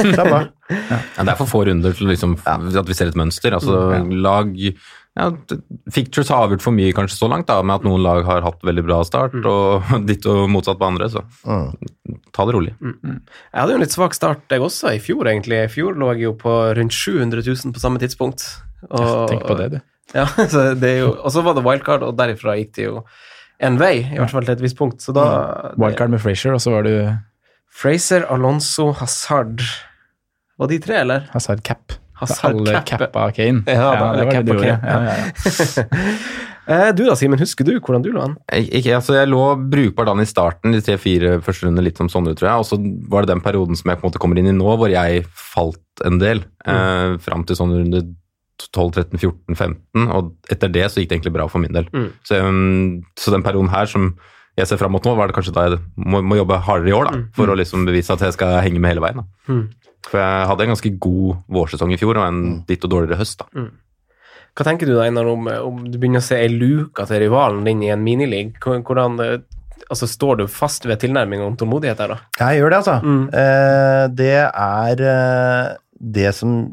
Det er bra. Ja, det er for få runder til liksom, at vi ser et mønster. Altså, lag ja, t- Fictures har avgjort for mye kanskje så langt, da, med at noen lag har hatt veldig bra start, og ditt og motsatt på andre. Så ta det rolig. Jeg hadde jo en litt svak start, jeg også, i fjor, egentlig. I fjor lå jeg jo på rundt 700 000 på samme tidspunkt. Og- Tenk på det, du. Ja, så det er jo, og så var det wildcard, og derifra gikk det jo en vei, i hvert fall til et visst punkt. Så da Mm. Wildcard med Frazier, og så var du Fraser, Alonso, Hazard Var de tre, eller? Hazard Cap. Hazard Alle Cap. cappa Kane. Ja, alle det var det cappa du gjorde. Kane. Ja, ja, ja. Eh, Du da, Simen, husker du hvordan du lå an? Jeg, ikke, altså jeg lå brukbart an i starten, de tre-fire første rundene, litt som Sondre, tror jeg. Og så var det den perioden som jeg på en måte kommer inn i nå, hvor jeg falt en del. Mm. Eh, fram til sånn runde 12, 13, 14, 15. Og etter det så gikk det egentlig bra for min del. Mm. Så, um, så den perioden her som jeg ser fram mot nå, var det kanskje da jeg må, må jobbe hardere i år, Mm. da. For å liksom bevise at jeg skal henge med hele veien. Da. Mm. For jeg hadde en ganske god vårsesong i fjor, og en Mm. litt og dårligere høst, da. Hva tenker du da, Einar, om, eh, om du begynner å se ei luke til rivalen din i en minileague? Hvor- Hvordan eh, Altså, står du fast ved tilnærmingen om tålmodighet her, da? Jeg gjør det, altså. Mm. Eh, det er eh, det som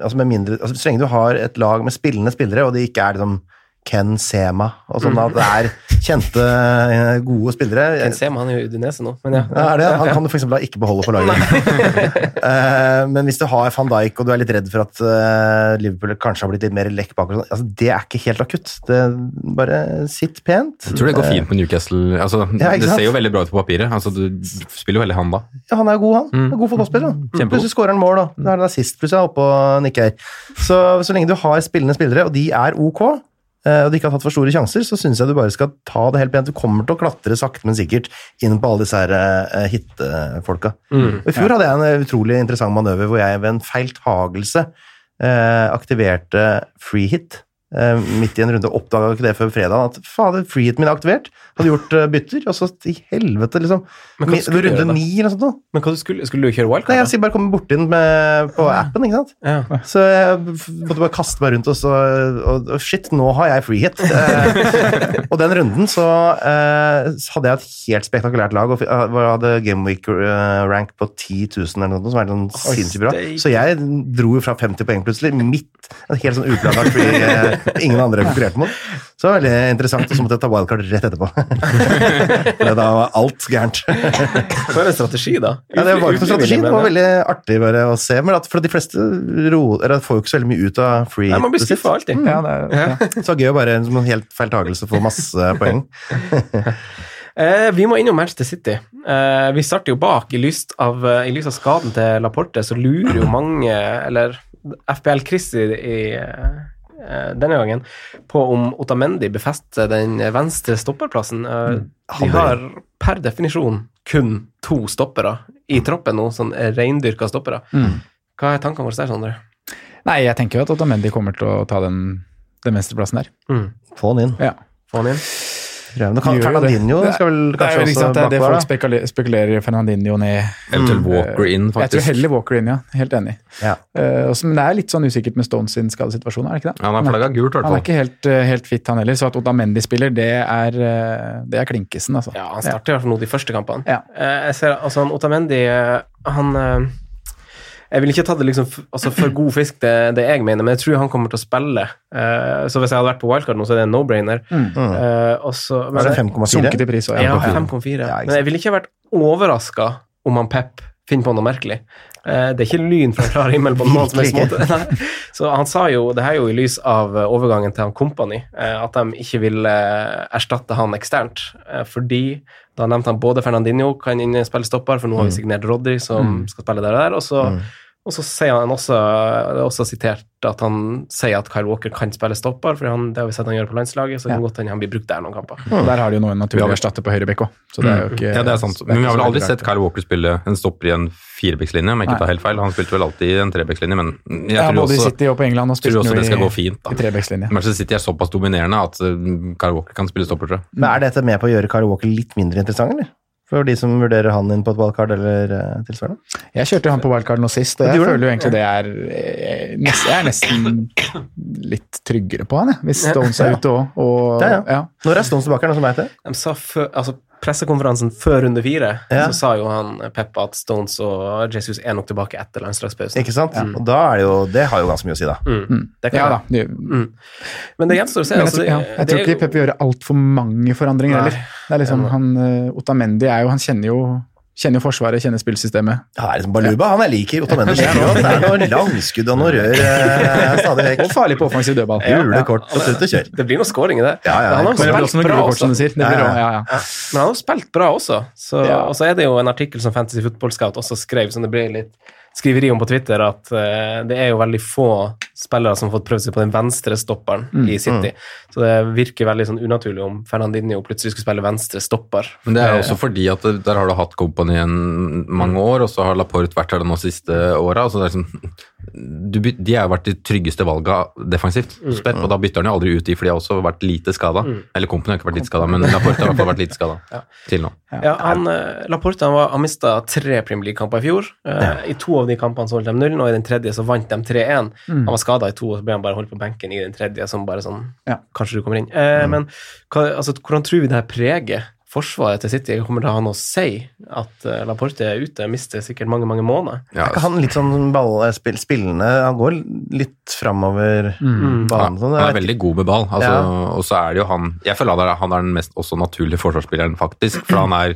Altså, med mindre altså, Så lenge du har et lag med spillende spillere, og det ikke er liksom Ken Sema og sånn, at det er kjente, eh, gode spillere Jeg ser meg, han er jo i Udinese nå, men ja. ja, er det? Han kan du for eksempel da ikke beholde på laget. Eh, Men hvis du har van Dijk og du er litt redd for at eh, Liverpool kanskje har blitt litt mer lekk bak, og sånn, altså, det er ikke helt akutt. Det, bare sitt pent. Jeg tror det går fint med Newcastle. Altså, Eh. Ja, det ikke sant? ser jo veldig bra ut på papiret. Altså, du spiller jo veldig hand da. Ja, han er god, Mm. han. Han er God fotballspiller. han. Kjempegod. Plutselig skårer han mål, da. Da er det nazist, plutselig er han oppe og nikker. Så, så lenge du har spillende spillere, og de er ok, eh, og de ikke har tatt for store sjanser, så syns jeg du bare skal ta det helt pent. Du kommer til å klatre sakte, men sikkert inn på alle disse her eh, hittefolka. Mm. Og I fjor hadde jeg en utrolig interessant manøver hvor jeg ved en feiltagelse eh, aktiverte free hit. Eh, midt i en runde oppdaga ikke det før fredag, at fader, free hiten min er aktivert. Hadde gjort eh, bytter, og så i helvete, liksom. Men hva Mi- skulle du gjøre runde da? ni eller noe sånt. nå. Men hva du skulle, skulle du kjøre Nei, wildcard? jeg sier bare komme borti den med, på appen, ikke sant? da? Ja. Så jeg f- måtte bare kaste meg rundt og så og, og Shit, nå har jeg free hit. Eh, og den runden så eh, hadde jeg et helt spektakulært lag og f- eh, hvor jeg hadde gameweek-rank på 10 000 eller noe, som er sånn sinnssykt bra. steik. Så jeg dro jo fra 50 poeng plutselig, midt en helt sånn uplanlagt free eh, ingen andre konkurrerte mot. Så det var veldig interessant, og så måtte jeg ta wildcard rett etterpå. For da var alt gærent. For en strategi, da. Ja, det var ikke noen strategi. Det var Ufrivillig, veldig artig bare å se. Men at for de fleste ro, eller får jo ikke så veldig mye ut av free men- Nei, man blir hitet sitt. skuffa alltid. Mm, Ja, det er, ja. Så det var gøy å bare som en helt feiltagelse få masse poeng. Eh, vi må innom Manchester City. Eh, vi starter jo bak. I lys av, eh, i lys av skaden til Laporte så lurer jo mange, eller FPL Chris i, i eh, denne gangen, på om Otamendi befester den venstre stopperplassen. Mm. Eh, de har per definisjon kun to stoppere i troppen nå, sånn reindyrka stoppere. Mm. Hva er tankene våre der, Sondre? Nei, jeg tenker jo at Otamendi kommer til å ta den, den venstreplassen der. Få den inn. Ja. Mm. Få han inn. Prøv. Nå kan Gjør jo det. Fernandinho Det er- skal vel Det er jo ikke kanskje også sant, det, er det bakover, folk da. spekulerer, spekulerer Fernandinho ned. Eventuelt Walker inn, Mm. Jeg tror faktisk. heller Walker inn, ja. Helt enig. Ja. Eh, også, men det er litt sånn usikkert med Stones sin skadesituasjon, er det ikke det? Ja, han er flagga gult, i hvert Han er fall. ikke helt, eh, helt fit, han heller. Så at Otamendi spiller, det er, eh, det er klinkesen, altså. Ja, han starter i hvert fall nå de første kampene. Ja. Eh, jeg ser, altså, han Otamendi eh, Han eh, Jeg vil ikke ta det liksom, f- altså, for god fisk, det, det jeg mener, men jeg tror han kommer til å spille. Eh, så hvis jeg hadde vært på wildcard nå, så er det en no-brainer. Eh, og så- Mm. men Er det jeg- 5,4? Altså, Sunket i pris også, Ja, ja. 5,4. Ja, ikke men jeg ville ikke vært overraska om han Pep finner på noe merkelig. Eh, det er ikke lyn fra klar himmel på noen som helst Virkelig måte. Nei. Så han sa jo, det her er jo i lys av eh, overgangen til han Company, eh, at de ikke vil eh, erstatte han eksternt. Eh, fordi da Mm. nevnte han både Fernandinho kan inn og spille stopper, for nå har vi signert Rodri som skal spille der og der, og så Og så sier han også, det er også sitert at han sier at Kyle Walker kan spille stopper, for det har vi sett han gjør på landslaget, så det kan godt hende han blir brukt der noen kamper. Og Der har de jo nå en naturlig erstatter på høyrebekk òg. Så det er jo ikke Mm. ja, det er sant. det er Men vi ikke har vel så aldri veldig sett rart. Kyle Walker spille en stopper i en firebeckslinje, om jeg ikke Nei. tar helt feil. Han spilte vel alltid i en trebeckslinje, men jeg Ja, tror både i også, City og på England. Og tror spilte også jo det i- skal gå fint. da. Mm. I trebekslinje. Manchester City er såpass dominerende at uh, Kyle Walker kan spille stopper, tror jeg. Men er dette med på å gjøre Kyle Walker litt mindre interessant, eller? For de som vurderer han inn på et wildcard eller eh, tilsvarende? Jeg kjørte jo han på wildcard nå sist, og Ja, jeg du gjorde føler jo egentlig det er eh, nest- Jeg er nesten litt tryggere på han, jeg, hvis Stones er ute òg. Og, Ja, ja. ja. Når er Stones tilbake, er det noen som vet det? De sa før, altså Pressekonferansen før runde fire Ja. så sa jo han eh, Pep at Stones og Jesus er nok tilbake etter landslagspausen. Ikke sant? Og da er det jo Det har jo ganske mye å si, da. Mm. Det kan ja da. være. det- Men det gjenstår å se. Men jeg, altså, tror- det- ja, jeg tror det er ikke jo- Pep vil gjøre altfor mange forandringer Nei. heller. Det er liksom, han, eh, Otamendi er jo, han kjenner jo, kjenner jo Forsvaret, kjenner spillsystemet. Ja, det er liksom Baluba han jeg liker. Otto Mendes er nå. Det er noe langskudd og noe rør eh, stadig vekk. Og farlig på offensiv dødball. Jule kort og tut og kjør. Det blir noe scoring i det. Ja, ja, men han har Men det blir jo også spilt noen bra gule kort, som også. du sier. Det blir, Ja, ja, ja. ja, ja. Men han har jo spilt bra også. Så, Ja. Og så er det jo en artikkel som Fantasy Football Scout også skrev, som det ble litt skriveri om på Twitter, at eh, det er jo veldig få spillere som har fått prøvd seg på den venstre stopperen Mm. i City. Mm. Så det virker veldig sånn unaturlig om Fernandinho plutselig skulle spille venstre stopper. Eh, Men det er jo også fordi at det, der har du hatt Company en mange år, og så har Laporte vært her de nå siste åra. Altså det er liksom- du byt- de har jo vært de tryggeste valga defensivt, Mm. Pep, og da bytter han jo aldri ut de, for de har også vært lite skada. Eller Company har ikke vært lite skada, men Laporte har i hvert fall vært lite skada til nå. Ja, han, eh, Laporte han, var- han mista tre Premier League-kamper i fjor. Eh, I to av de kampene så holdt de nullen, og i den tredje så vant de 3-1. Mm. Han var skada i to, og så ble han bare holdt på benken i den tredje som bare sånn Ja. Mm. Kanskje du kommer inn. Eh, Men hva, altså, hvordan tror vi det her preger forsvaret til City? Kommer det å ha noe å si at eh, Laporte er ute? Mister sikkert mange, mange måneder. Ja, Er ikke han litt sånn ball, spill, spillende Han går litt framover banen. Sånn. Han Jeg er vet veldig god med ball. Altså, Ja. Og så er det jo han Jeg føler han er, han er den mest også naturlige forsvarsspilleren, faktisk. For han er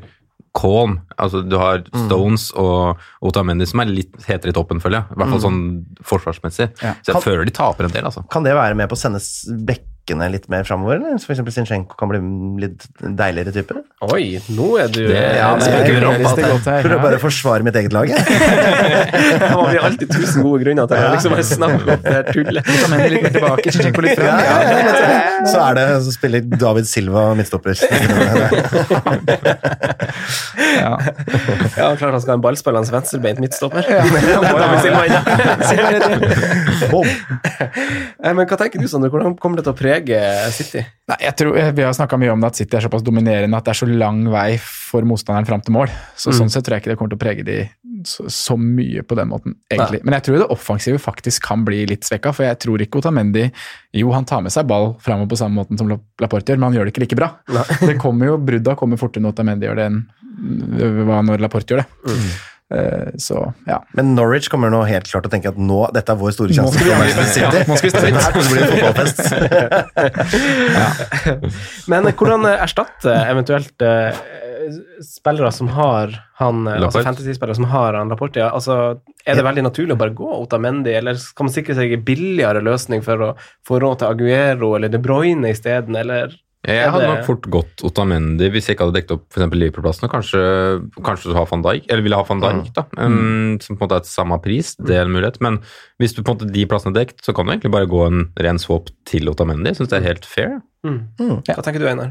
calm. Altså, du har Mm. Stones og Otamendi som er litt hetere i toppen, føler jeg. I hvert fall Mm. sånn forsvarsmessig. Så jeg føler de taper en del, altså. ikke. Kan det være med på å sende s- bekkene litt mer framover? eller? Så For eksempel Sinchenko kan bli litt deiligere type? Oi, nå er du Det- ja, ja, det, det- er jeg realistisk prøver godt her, bare- prøver ja. bare å forsvare mitt eget lag, jeg. eh, har vi alltid tusen gode grunner til å liksom bare snakke om det her tullet. Otamendi litt mer tilbake, Zinchenko litt frem. Så er det Så spiller David Silva midtstopper. Ja. Ja, klart han skal ha en ballspillende venstrebeint midtstopper. David Silva inne. Bom. Eh, Men hva tenker du, Sondre? Hvordan kommer det til å prege City? Nei, jeg tror, eh, Vi har snakka mye om det at City er såpass dominerende at det er så lang vei for motstanderen fram til mål. Så Sånn sett tror jeg ikke det kommer til å prege de så, så mye på den måten, egentlig. Men jeg tror det offensive faktisk kan bli litt svekka, for jeg tror ikke Otamendi Jo, han tar med seg ball framover på samme måten som La- Laporte gjør, men han gjør det ikke like bra. Det kommer jo, Brudda kommer fortere når Otamendi gjør det, enn hva når Laporte gjør det. Eh, Så ja. Men Norwich kommer nå helt klart til å tenke at nå, dette er vår store sjanse. til å slå Manchester City. nå skal vi stå Her kommer det å bli en fotballfest. Men eh, hvordan eh, erstatte eventuelt eh, spillere som har han eh, altså Laporte? fantasy-spillere som har han Laporte? Ja. Altså, er det veldig naturlig å bare gå Otamendi, eller skal man sikre seg en billigere løsning for å få råd til Aguero eller De Bruyne isteden, eller Jeg hadde det- nok fort gått Otamendi hvis jeg ikke hadde dekket opp for eksempel Liverpool-plassen. og Kanskje, kanskje du har van Dijk, eller ville ha van Dijk, da, um, som på en måte er til samme pris. Det er en mulighet. Men hvis du på en måte de plassene er dekt, så kan du egentlig bare gå en ren swap til Otamendi. Jeg syns det er helt fair. Mm. Hva tenker du, Einar?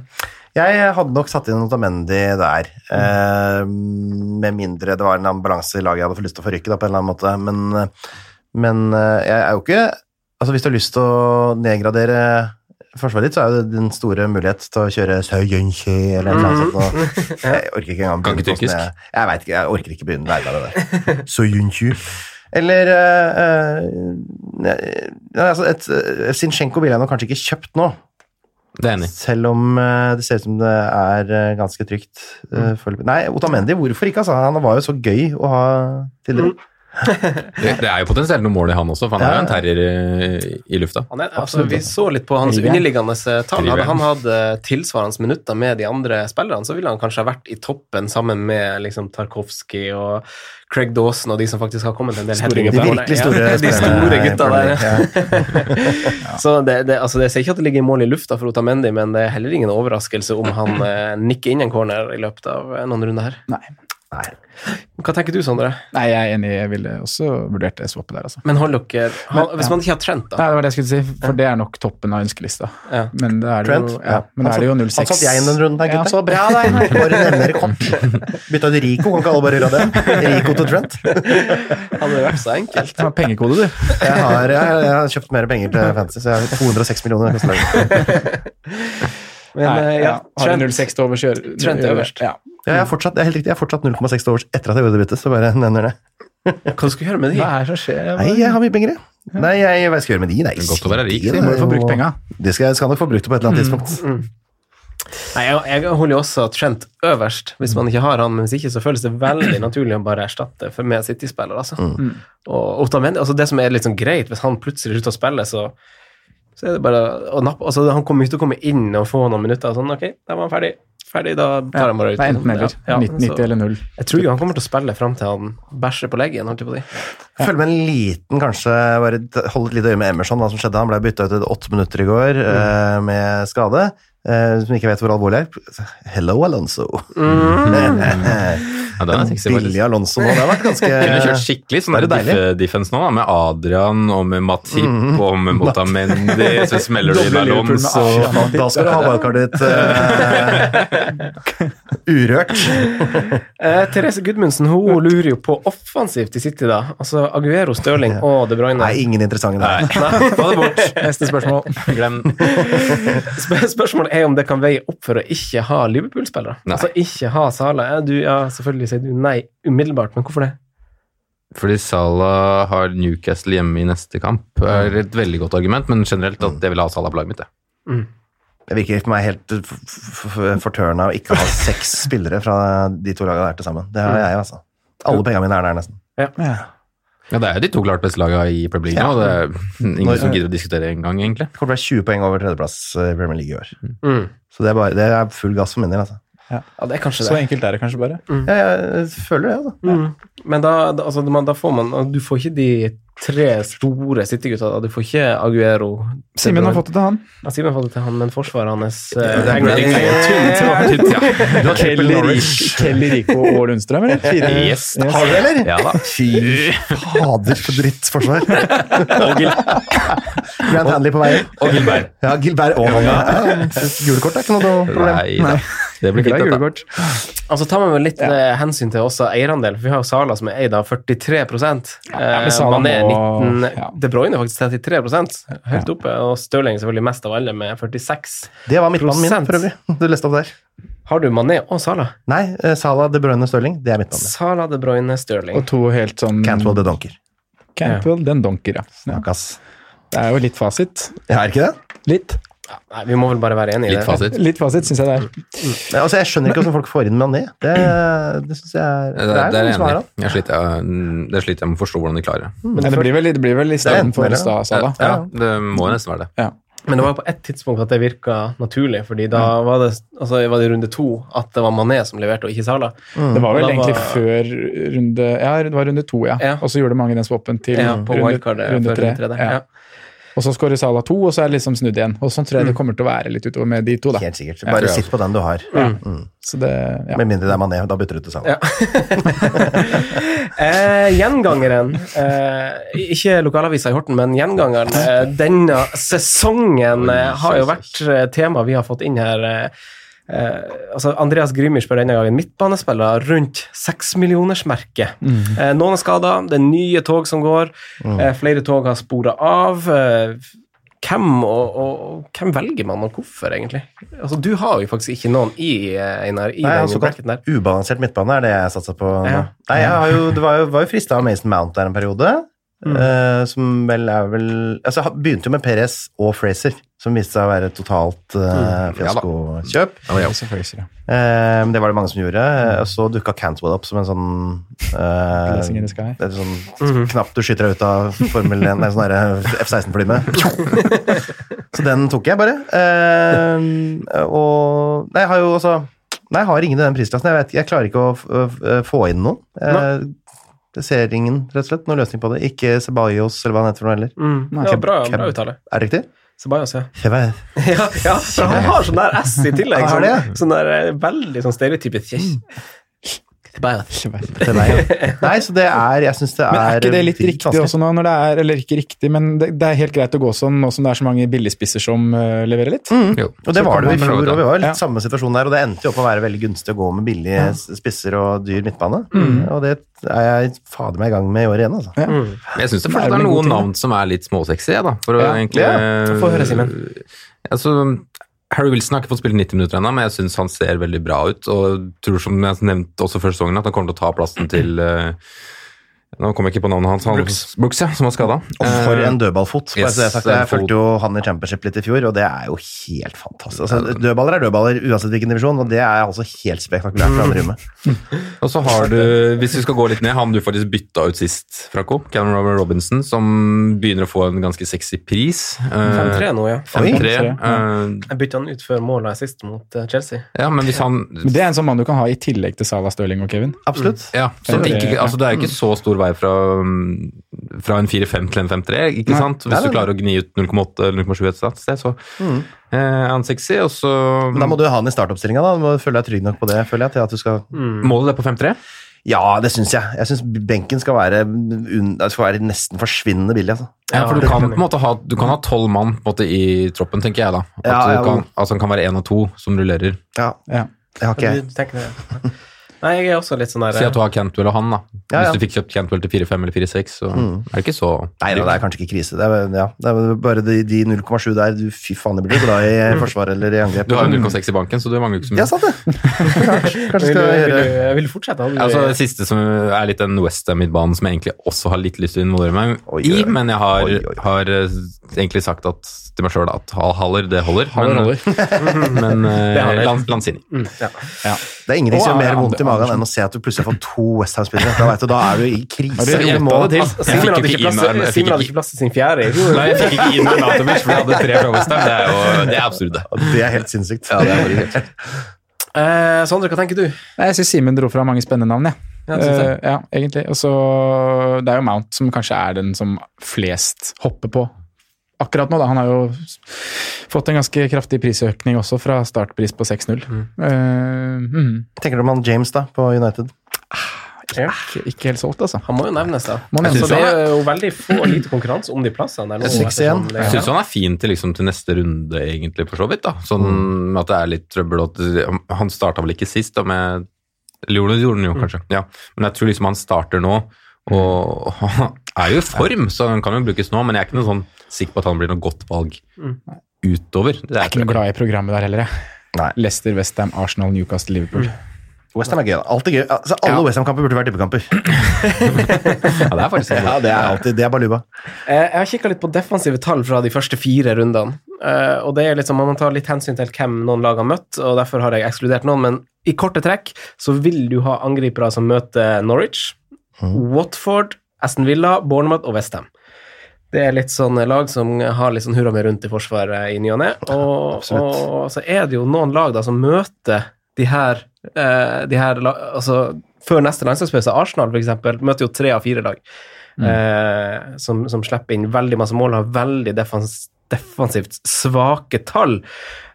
Jeg hadde nok satt inn Otamendi der. Eh, med mindre det var en annen balanse i laget jeg hadde fått lyst til å forrykke, da, på en eller annen måte. Men, eh, men eh, jeg er jo ikke Altså, hvis du har lyst til å nedgradere forsvaret ditt, så er jo det din store mulighet til å kjøre Søyenki eller noe sånt. nå. Jeg orker ikke engang Kan ikke begynne på tyrkisk. sånn, Jeg, jeg vet ikke, jeg orker ikke begynne å lære meg det der. Søyenki. Eller eh, eh, ja, altså et, eh, Sinchenko ville jeg nok kanskje ikke kjøpt nå. Det er jeg enig. i. Selv om eh, det ser ut som det er eh, ganske trygt. eh, Mm. foreløpig. Nei, Otamendi, hvorfor ikke? Altså? Han var jo så gøy å ha Mm. tidligere. Det, det er jo potensielt noe mål i han også, for han er jo en terrier i, i lufta. Han er, altså, vi så litt på hans Elveren. underliggende eh, tall. Hadde Elveren. han hatt eh, tilsvarende minutter med de andre spillerne, så ville han kanskje ha vært i toppen sammen med liksom, Tarkovskij og Craig Dawson og de som faktisk har kommet en del headinger De på målet. virkelig store ja, de store spillerne i gutta Premier der. League, ja. Så det, det, altså, jeg ser ikke at det ligger mål i lufta for Otamendi, men det er heller ingen overraskelse om han eh, nikker inn en corner i løpet av eh, noen runder her. Nei. Hva tenker du, Sondre? Nei, jeg er enig. Jeg ville også vurdert det swappet der, altså. Men hold dere han- Hvis man ikke har Trent, da? Nei, det var det jeg skulle si, for det er nok toppen av ønskelista. Ja. Men det er det Trent? jo, Mm, ja, men Han da er det jo 06. satt- Han satt jeg inn den runden Ja, her, han gutter. så bra da, Einar. Bare nevner kort. Bytta ut Rico, kan ikke alle bare gjøre det? Rico til Trent. Hadde det vært så enkelt? Det var pengekode, du. Jeg har, jeg, jeg har kjøpt mer penger til Fantasy, så jeg har 206 millioner. neste dag. Men, Nei, eh, ja, ja, har du Trent, 06 til overs, gjør Trent gjør- øverst. Ja. Ja, jeg er fortsatt, jeg er helt riktig, jeg er fortsatt 0,6 overs etter at jeg gjorde det byttet, så bare nevner det. hva skal du gjøre med de? Hva er det som skjer? Nei, jeg har mye penger, jeg. Nei, jeg, hva skal jeg gjøre med de? Nei, Godt å være rik, de, så Du må jo få det er brukt jo- penga. De skal, skal nok få brukt det på et eller annet Mm. tidspunkt. Nei, jeg, jeg holder jo også Trent øverst, hvis man ikke har han. Men hvis ikke, så føles det veldig naturlig å bare erstatte for med City-spiller. Altså. Mm. Mm. Og Otamendi, altså det som er litt sånn greit, hvis han plutselig slutter å spille, så, så er det bare å nappe altså, Han kommer jo ikke til å komme inn og få noen minutter og sånn Ok, da var han ferdig. Ferdig, da tar han bare ut. Det er enten eller. Ja, ja, 19, 90 så- eller 0. Jeg tror jo han kommer til å spille fram til han bæsjer på leggen, holdt jeg på å si. Følg med en liten, kanskje bare hold et lite øye med Emerson, hva som skjedde. Han ble bytta ut etter åtte minutter i går Mm. eh, med skade. eh, som ikke vet hvor alvorlig er. Hello, Alonso. Mm. Ja, den er sexy, Billig faktisk. Alonso nå. Det har vært Kunne kjørt ganske skikkelig sånn Er det der diff- deilig? defense nå, da, med Adrian og med Matip og med Motamendi, så smeller det inn Doble Liverpool med Alonso. Da skal du ha wildcardet ditt eh, urørt. Eh, Therese Gudmundsen hun lurer jo på offensivt i City, da. Altså Aguero, Stirling og De Bruyne. Nei, ingen interessante der. Nei, ta det bort. Neste spørsmål. Glem. Sp- Spørsmålet er om det kan veie opp for å ikke ha Liverpool-spillere. Nei. Altså ikke ha Sala. Ja, du, ja, selvfølgelig sier du nei umiddelbart, men hvorfor det? Fordi Salah har Newcastle hjemme i neste kamp, er et veldig godt argument, men generelt at jeg vil ha Salah på laget mitt. jeg. Det virker for meg helt f- f- f- fortørna å ikke ha seks spillere fra de to lagene der til sammen. Det Mm. har jeg, altså. Alle pengene mine er der, nesten. Ja, det er jo de to klart beste lagene i Premier League nå, og det er ingen som gidder å diskutere engang, egentlig. Det kommer til å være 20 poeng over tredjeplass eh, i Premier League i år. Så det er, bare, det er full gass for min del. Altså. Ja, det er kanskje Så det. enkelt er det kanskje bare. Jeg, jeg føler det, altså. Men da, da, altså, man, da får man Du får ikke de tre store City-gutta. da. Du får ikke Aguero De Simen har Bruyne. fått det til han. ja, Simen har fått det til han, men forsvaret hans eh, det er henger- Brady henger- Tynt, tynt, ja. Du har triple Kelly, Norwich. Rik- Kelly Rico og Lundstrøm, eller? Fire. Yes. Har du det, eller? Ja da. Fy fader, for drittforsvar. Og Gil- Grand Handley på veien. og Gilbert. Ja, Gilbert og han. Ja. Gule kort er ikke noe problem. Nei da. Det blir Det er fint, gule dette. kort. Altså tar man vel litt eh, hensyn til også eierandel, for vi har jo Sala som er eid av 43 ja, men eh, Sala Mané må- 19 ja. De Bruyne faktisk 33 høyt oppe, og Stirling selvfølgelig mest av alle med 46 Det var midtbanen min, Prosent. for øvrig. Du leste opp der. Har du Mané og Sala? Nei, eh, Salah, De Bruyne, Stirling. Det er midtbanen. Sala, De Bruyne, Og Stirling. to helt sånn Cantwell de Donker. Cantwell, den donker, ja. ja. Takk, ass. Det er jo litt fasit. Ja, er det ikke det? Litt. Nei, vi må vel bare være enige i Litt det. fasit. Litt fasit, syns jeg det er. Nei, Altså, jeg skjønner ikke hvordan folk får inn Mané. Det, det syns jeg er Det, det er noen jeg som enig har i. han. Jeg sliter- jeg- Det sliter jeg med å forstå hvordan de klarer det. Men det blir vel, det blir vel i enten stedet for eller, Sta- Sala. Ja, det må nesten være det. Men det var jo på ett tidspunkt at det virka naturlig, fordi da var det, altså, var det i runde to at det var Mané som leverte, og ikke Sala. Det var vel Da var- egentlig før runde Ja, det var runde to, ja. Ja. Og så gjorde mange den swappen til Ja, på runde, wildcardet runde før tre. runde tre der. Ja. Ja. Og så skårer Sala to, og så er det liksom snudd igjen. Og sånn tror Mm. jeg det kommer til å være litt utover med de to, da. Helt sikkert. Bare tror jeg sitt på den du har. Mm. Så det, ja. Med mindre det er Mané, da bytter du til Salah. Ja. Eh, gjengangeren, eh, ikke lokalavisa i Horten, men gjengangeren eh, denne sesongen eh, har jo vært eh, tema vi har fått inn her. Eh, eh, altså Andreas Grymir spør denne gangen midtbanespillere rundt seksmillionersmerket. Eh, noen er skada, det er nye tog som går, eh, flere tog har spora av. Eh, hvem, og, og, og hvem velger man, og hvorfor, egentlig? Altså, du har jo faktisk ikke noen i, eh, Einar, i Nei, den altså, bracketen der. Ubalansert midtbane er det jeg satser på nå. Ja. Nei, jeg har jo, det var jo, var jo frista av Mason Mount der en periode. eh, som vel er vel Altså, jeg begynte jo med Perez og Fraser, som viste seg å være et totalt uh, Ja da. fiaskokjøp. Ja, så Fraser, ja. Eh, men det var det mange som gjorde. eh, Og så dukka Cantwell opp som en sånn eh, Blessing in the sky. Det er Mhm. sånn knapp du skyter deg ut av Formel 1, nei, sånn derre F-16-fly med. Så den tok jeg bare. Eh, og Nei, jeg har jo også Nei, jeg har ingen i den prisklassen. Jeg, vet, jeg klarer ikke å f f få inn noen. Eh, det ser ingen, rett og slett, noen løsning på det. Ikke Ceballos eller hva han heter for noe heller. Mm. Ja, bra, bra uttale. Er det riktig? Ceballos, ja. Jeg vet. Ja, ja for han har sånn der S i tillegg. Har Sånn, det? sånn der eh, veldig sånn stereotypisk Til meg, ja. Nei, så det er Jeg syns det er Men er ikke det litt fint riktig vanskelig. også nå, når det er, eller ikke riktig, men det, det er helt greit å gå sånn nå som det er så mange billigspisser som eh, leverer litt? Mm. Jo. Og det Så var kan det jo i man fjor, prøve det. og vi var jo litt Ja. samme situasjon der, og det endte jo opp med å være veldig gunstig å gå med billige s- spisser og dyr midtbane. Og det er jeg fader meg i gang med i år igjen, altså. Jeg syns det fortsatt Det er er vel en god noen ting, da. navn som er litt småsexy, jeg, da. For å Ja. egentlig Ja, få høre, Simen. Altså, Harry Wilson har ikke fått spille 90 minutter ennå, men jeg syns han ser veldig bra ut. Og tror, som jeg nevnte også før sesongen, at han kommer til å ta plassen til eh, Nå kom jeg ikke på navnet hans. Han, Brooks. ja, som var skada. Og for en dødballfot. bare yes, så det er sagt. Jeg en fot. fulgte jo han i championship litt i fjor, og det er jo helt fantastisk. Altså, dødballer er dødballer uansett hvilken divisjon, og det er altså helt spektakulært fra andre rommet. Og så har du, hvis vi skal gå litt ned, han du faktisk bytta ut sist, Franco. Cameron Robinson, som begynner å få en ganske sexy pris. Eh, 5-3 nå, ja. 5-3. ja. Eh, Jeg bytta han ut før målet her sist mot eh, Chelsea. Ja, men hvis han Men det er en sånn mann du kan ha i tillegg til Salah, Stirling og Kevin. Absolutt. Ja, så Eller- det, ikke, altså det er jo Mm. ikke så stor vei fra, um, fra en 4-5 til en 5-3, ikke Nei. sant? Nei, Hvis nei, du klarer å gni ut 0,8 eller 0,7 et sted, så eh, er han sexy, og så Mm. Men da må du ha han i startoppstillinga, da. Du må føle deg trygg nok på det, føler jeg, til at du skal mm, målet er på 5-3. Ja, det syns jeg. Jeg syns benken skal være, un- skal være nesten forsvinnende billig, altså. Ja, for det du er kan enig. på en måte ha du kan ha tolv mann på en måte i troppen, tenker jeg da. At Ja, du ja, kan, men- altså han kan være én av to som rullerer. Ja, Ja. jeg har ikke jeg. Du tenker det. Nei, jeg er også litt sånn der Si at du har Cantwell og han, da. Ja, ja. Hvis du fikk kjøpt Cantwell til 4-5 eller 4-6, så er det ikke så Nei, da, det er kanskje ikke krise. Det er, ja, det er bare de, de 0,7 der. Du, fy faen, det blir du glad i forsvar eller i angrep. Du har jo 0,6 i banken, så du mangler jo ikke så mye. Ja, sant det! Kanskje, kanskje Vil du, skal jeg vil, gjøre du, vil du fortsette? Har du- Altså, det siste som er litt den Westham-midbanen som jeg egentlig også har litt lyst til å involvere meg Oi, i, oi. men jeg har, Oi, oi. har eh, egentlig sagt at, til meg sjøl at Hal Haller, det holder. men, eh, Haller holder. Men Det har eh, det. Lan- Lanzini. Det er ingenting som Å, gjør mer ja, vondt i magen enn å se at du plutselig har fått to Westham-spillere. Da, vet du, da er du i krise. Ja, det Du gjetta må- det til. Altså, Jeg Simen fikk hadde ikke ikke inn plass her, til- jeg Simen fikk hadde ikke- ikke plass til sin fjerde i fjor. Nei, jeg fikk ikke inn Arnatovic, for jeg hadde tre fra Westham. Det er jo det er absurd, det. Det er helt sinnssykt. Ja, det er bare helt- Eh, Sondre, hva tenker du? Nei, Jeg syns Simen dro fra mange spennende navn, jeg. Ja, synes jeg. Eh, ja, egentlig. Og så Det er jo Mount som kanskje er den som flest hopper på akkurat nå. da. Han har jo s- fått en ganske kraftig prisøkning også, fra startpris på 6-0. Mm. Eh, mhm. Tenker du om han James da, på United? Ikke- Ikke helt solgt, altså. Han må jo nevnes, da. Må nevnes. Altså, det er jo veldig få lite konkurranse om de plassene. der nå, Seks ettersom igjen. det- Jeg syns han er fin til, liksom, til neste runde, egentlig, for så vidt. da. Sånn at det er litt trøbbel. og At, han starta vel ikke sist, da, med Eller gjorde han- gjorde han jo, kanskje. Ja. Men jeg tror liksom han starter nå, og han er jo i form, så han kan jo brukes nå. Men jeg er ikke noe sånn sikker på at han blir noe godt valg utover. Det er Jeg er ikke noe glad i programmet der heller, jeg. Nei. Leicester, Westham, Arsenal, Newcastle, Liverpool. Westham er gøy. da. Alt er gøy. Altså, alle Westham-kamper burde vært tippekamper. Ja, det er faktisk sånn. Ja, det er alltid, det er baluba. Eh, Jeg har kikka litt på defensive tall fra de første fire rundene. Eh, og det er liksom, Man må ta litt hensyn til hvem noen lag har møtt, og derfor har jeg ekskludert noen. Men i korte trekk så vil du ha angripere som møter Norwich, Watford, Aston Villa, Bournemouth og Westham. Det er litt sånn lag som har litt sånn hurra med rundt i forsvaret i ny og ne. Og, og så er det jo noen lag da som møter de her, eh, de her la- altså Før neste landslagspause, Arsenal f.eks., møter jo tre av fire lag Mm. eh, som, som slipper inn veldig masse mål, har veldig defens, defensivt svake tall.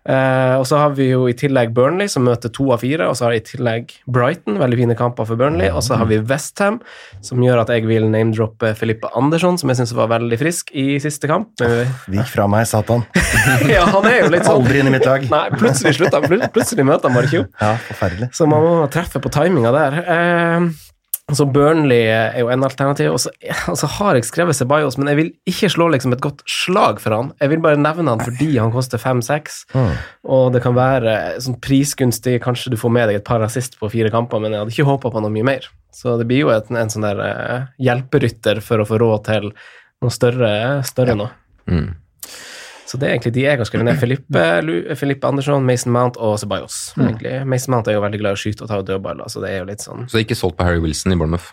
Eh, og så har vi jo i tillegg Burnley, som møter to av fire, og så har jeg i tillegg Brighton, veldig fine kamper for Burnley, og så har vi Westham, som gjør at jeg vil name-droppe Filippe Andersson, som jeg syns var veldig frisk i siste kamp. Men- Vik fra meg, satan. ja, han er jo litt sånn Aldri inn i mitt lag. Nei, plutselig slutta han. Plut- Plutselig møter han bare ikke opp. Ja, forferdelig. Så man må treffe på timinga der. Eh, så Burnley er jo en alternativ. Og så og så har jeg skrevet Ceballos, men jeg vil ikke slå liksom et godt slag for han. Jeg vil bare nevne han fordi han koster 5-6, og det kan være sånn prisgunstig. Kanskje du får med deg et par assist på fire kamper, men jeg hadde ikke håpa på noe mye mer. Så det blir jo et, en sånn der eh, hjelperytter for å få råd til noe større, større nå. Mm. Så det er egentlig de jeg har skrevet ned. Filippe, Lu- Filippe Andersson, Mason Mount og Ceballos. Hmm. egentlig. Mason Mount er jo veldig glad i å skyte og ta dødballer, så det er jo litt sånn Så ikke solgt på Harry Wilson i Bournemouth.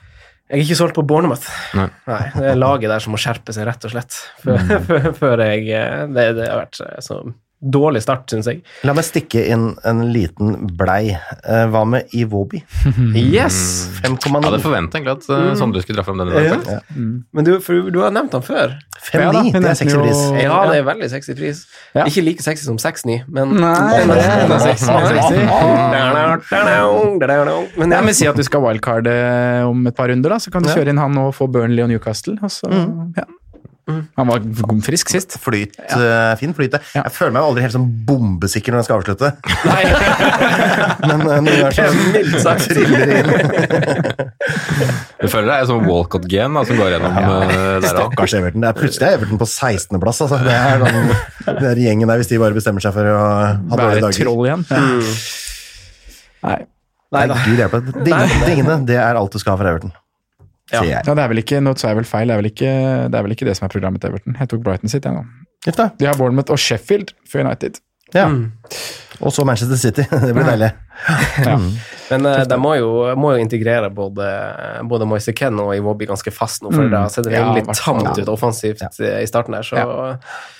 Jeg er ikke solgt på Bournemouth. Nei. Hmm. det er laget der som må skjerpe seg, rett og slett. Før, før jeg eh, det, det har vært eh, så Dårlig start, syns jeg. La meg stikke inn en liten blei. Eh, Hva med Iwobi? Hmm. Yes! 5,9. Jeg hadde forventet egentlig at eh, Sondre skulle dra fram denne. Ja. dagen. Hmm. Men du, for du har nevnt han før. 5,9, Ja da, vi det nevnte er sexy jo- pris. Ja, det er veldig sexy pris. Ja. Ikke like sexy som 6-9, men Nei, men- det er- det er sexy. Men Nei, ja, men Si at du skal wildcarde om et par runder, da, så kan du kjøre inn han og få Burnley og Newcastle. Og så, Mm. ja. Han var god- frisk sist. Flyt, eh, fin flyt. det. Jeg føler meg aldri helt sånn bombesikker når jeg skal avslutte. Men eh, noen ganger så mildt sagt. triller det inn. Du føler det er sånn Walcott-gen da, som går gjennom eh, der òg. Stakkars Everton. Det er plutselig er Everton på 16.-plass. Altså. Det er den, den der gjengen der, hvis de bare bestemmer seg for å ha Være dårlige et dager. troll igjen. Mm. Nei. Nei, Gud hjelpe. Dingene, dingene, det er alt du skal ha for Everton. Ja. Sier jeg. Ja, det er vel ikke nå sa jeg vel feil, det er vel ikke det, er vel ikke det som er programmet til Everton. Jeg tok Brighton sitt, jeg nå. Gift, da. De har Bournemouth og Sheffield for United. Ja. Mm. Og så Manchester City. Det blir deilig. Men eh, de må jo, må jo integrere både, både Moise Ken og Iwobi ganske fast nå, for det har sett Mm. Ja, veldig hvert fall. tamt ut offensivt eh, i starten der, så Nei,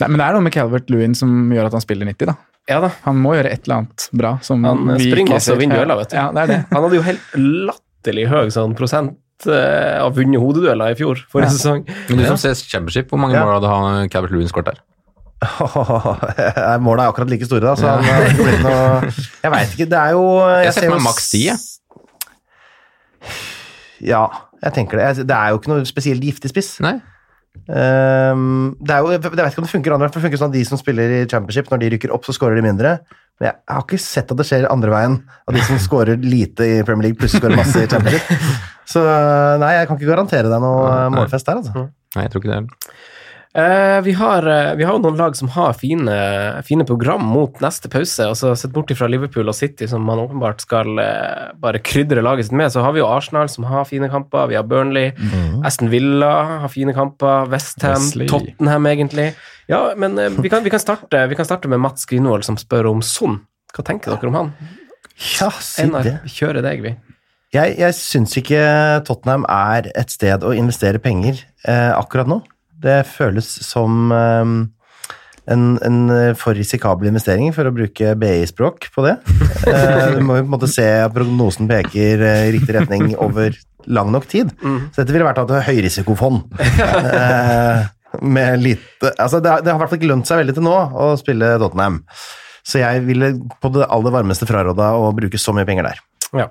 men det er noe med Calvert Lewin som gjør at han spiller 90, da. ja da. Han må gjøre et eller annet bra. Som Han eh, vi springer ikke masse og ser. vinner dueller, vet du. Ja, det er det. Han hadde jo helt latterlig høy sånn prosent eh, av vunnet hodedueller i fjor, forrige sesong. Men du som ser Championship, hvor mange Ja. mål hadde han Cabert Lewin skåret der? Måla er akkurat like store, da, så han har ikke blitt noe Jeg veit ikke, det er jo Jeg ser for jo meg maks 10, jeg. Ja, jeg tenker det. Jeg- Det er jo ikke noe spesielt giftig spiss. Nei? Ehm, det er jo, jeg vet ikke om det funker andre veien, for det funker sånn at de som spiller i championship, når de rykker opp, så skårer de mindre. Men jeg har ikke sett at det skjer andre veien, at de som skårer lite i Premier League, plutselig skårer masse i championship. Så eh, nei, jeg kan ikke garantere deg noe eh, målfest der, altså. Nei, jeg tror ikke det. er- Eh, vi, har, eh, vi har jo noen lag som har fine, fine program mot neste pause. altså Sett bort fra Liverpool og City, som man åpenbart skal eh, bare krydre laget sitt med, så har vi jo Arsenal, som har fine kamper. Vi har Burnley. Mhm. Aston Villa har fine kamper. Westham. Wesley. Tottenham, egentlig. Ja, men eh, vi, kan, vi, kan starte, vi kan starte med Mats Grindvold, som spør om Son. Hva tenker dere om han? Ja, si Einar, det. vi kjører deg, vi. Jeg, jeg syns ikke Tottenham er et sted å investere penger eh, akkurat nå. Det føles som eh, en, en for risikabel investering, for å bruke BI-språk på det. Eh, du må jo på en måte se at prognosen peker eh, i riktig retning over lang nok tid. Så dette ville vært et høyrisikofond. Eh, med lite Altså, det har, det har i hvert fall ikke lønt seg veldig til nå å spille Tottenham. Så jeg ville på det aller varmeste fraråda å bruke så mye penger der. Ja.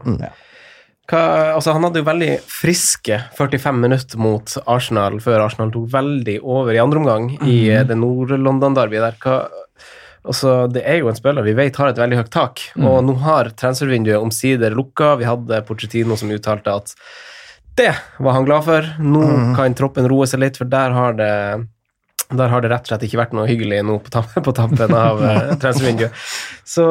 Hva, altså han hadde jo veldig friske 45 minutter mot Arsenal før Arsenal tok veldig over i andre omgang i eh, det Nord-London-derbyet der. Hva, altså, det er jo en spiller vi vet har et veldig høyt tak, og nå har transfervinduet omsider lukka. Vi hadde Pochettino som uttalte at det var han glad for. Nå kan troppen roe seg litt, for der har det der har det rett og slett ikke vært noe hyggelig nå på tampen, på tampen av eh, transfervinduet. Så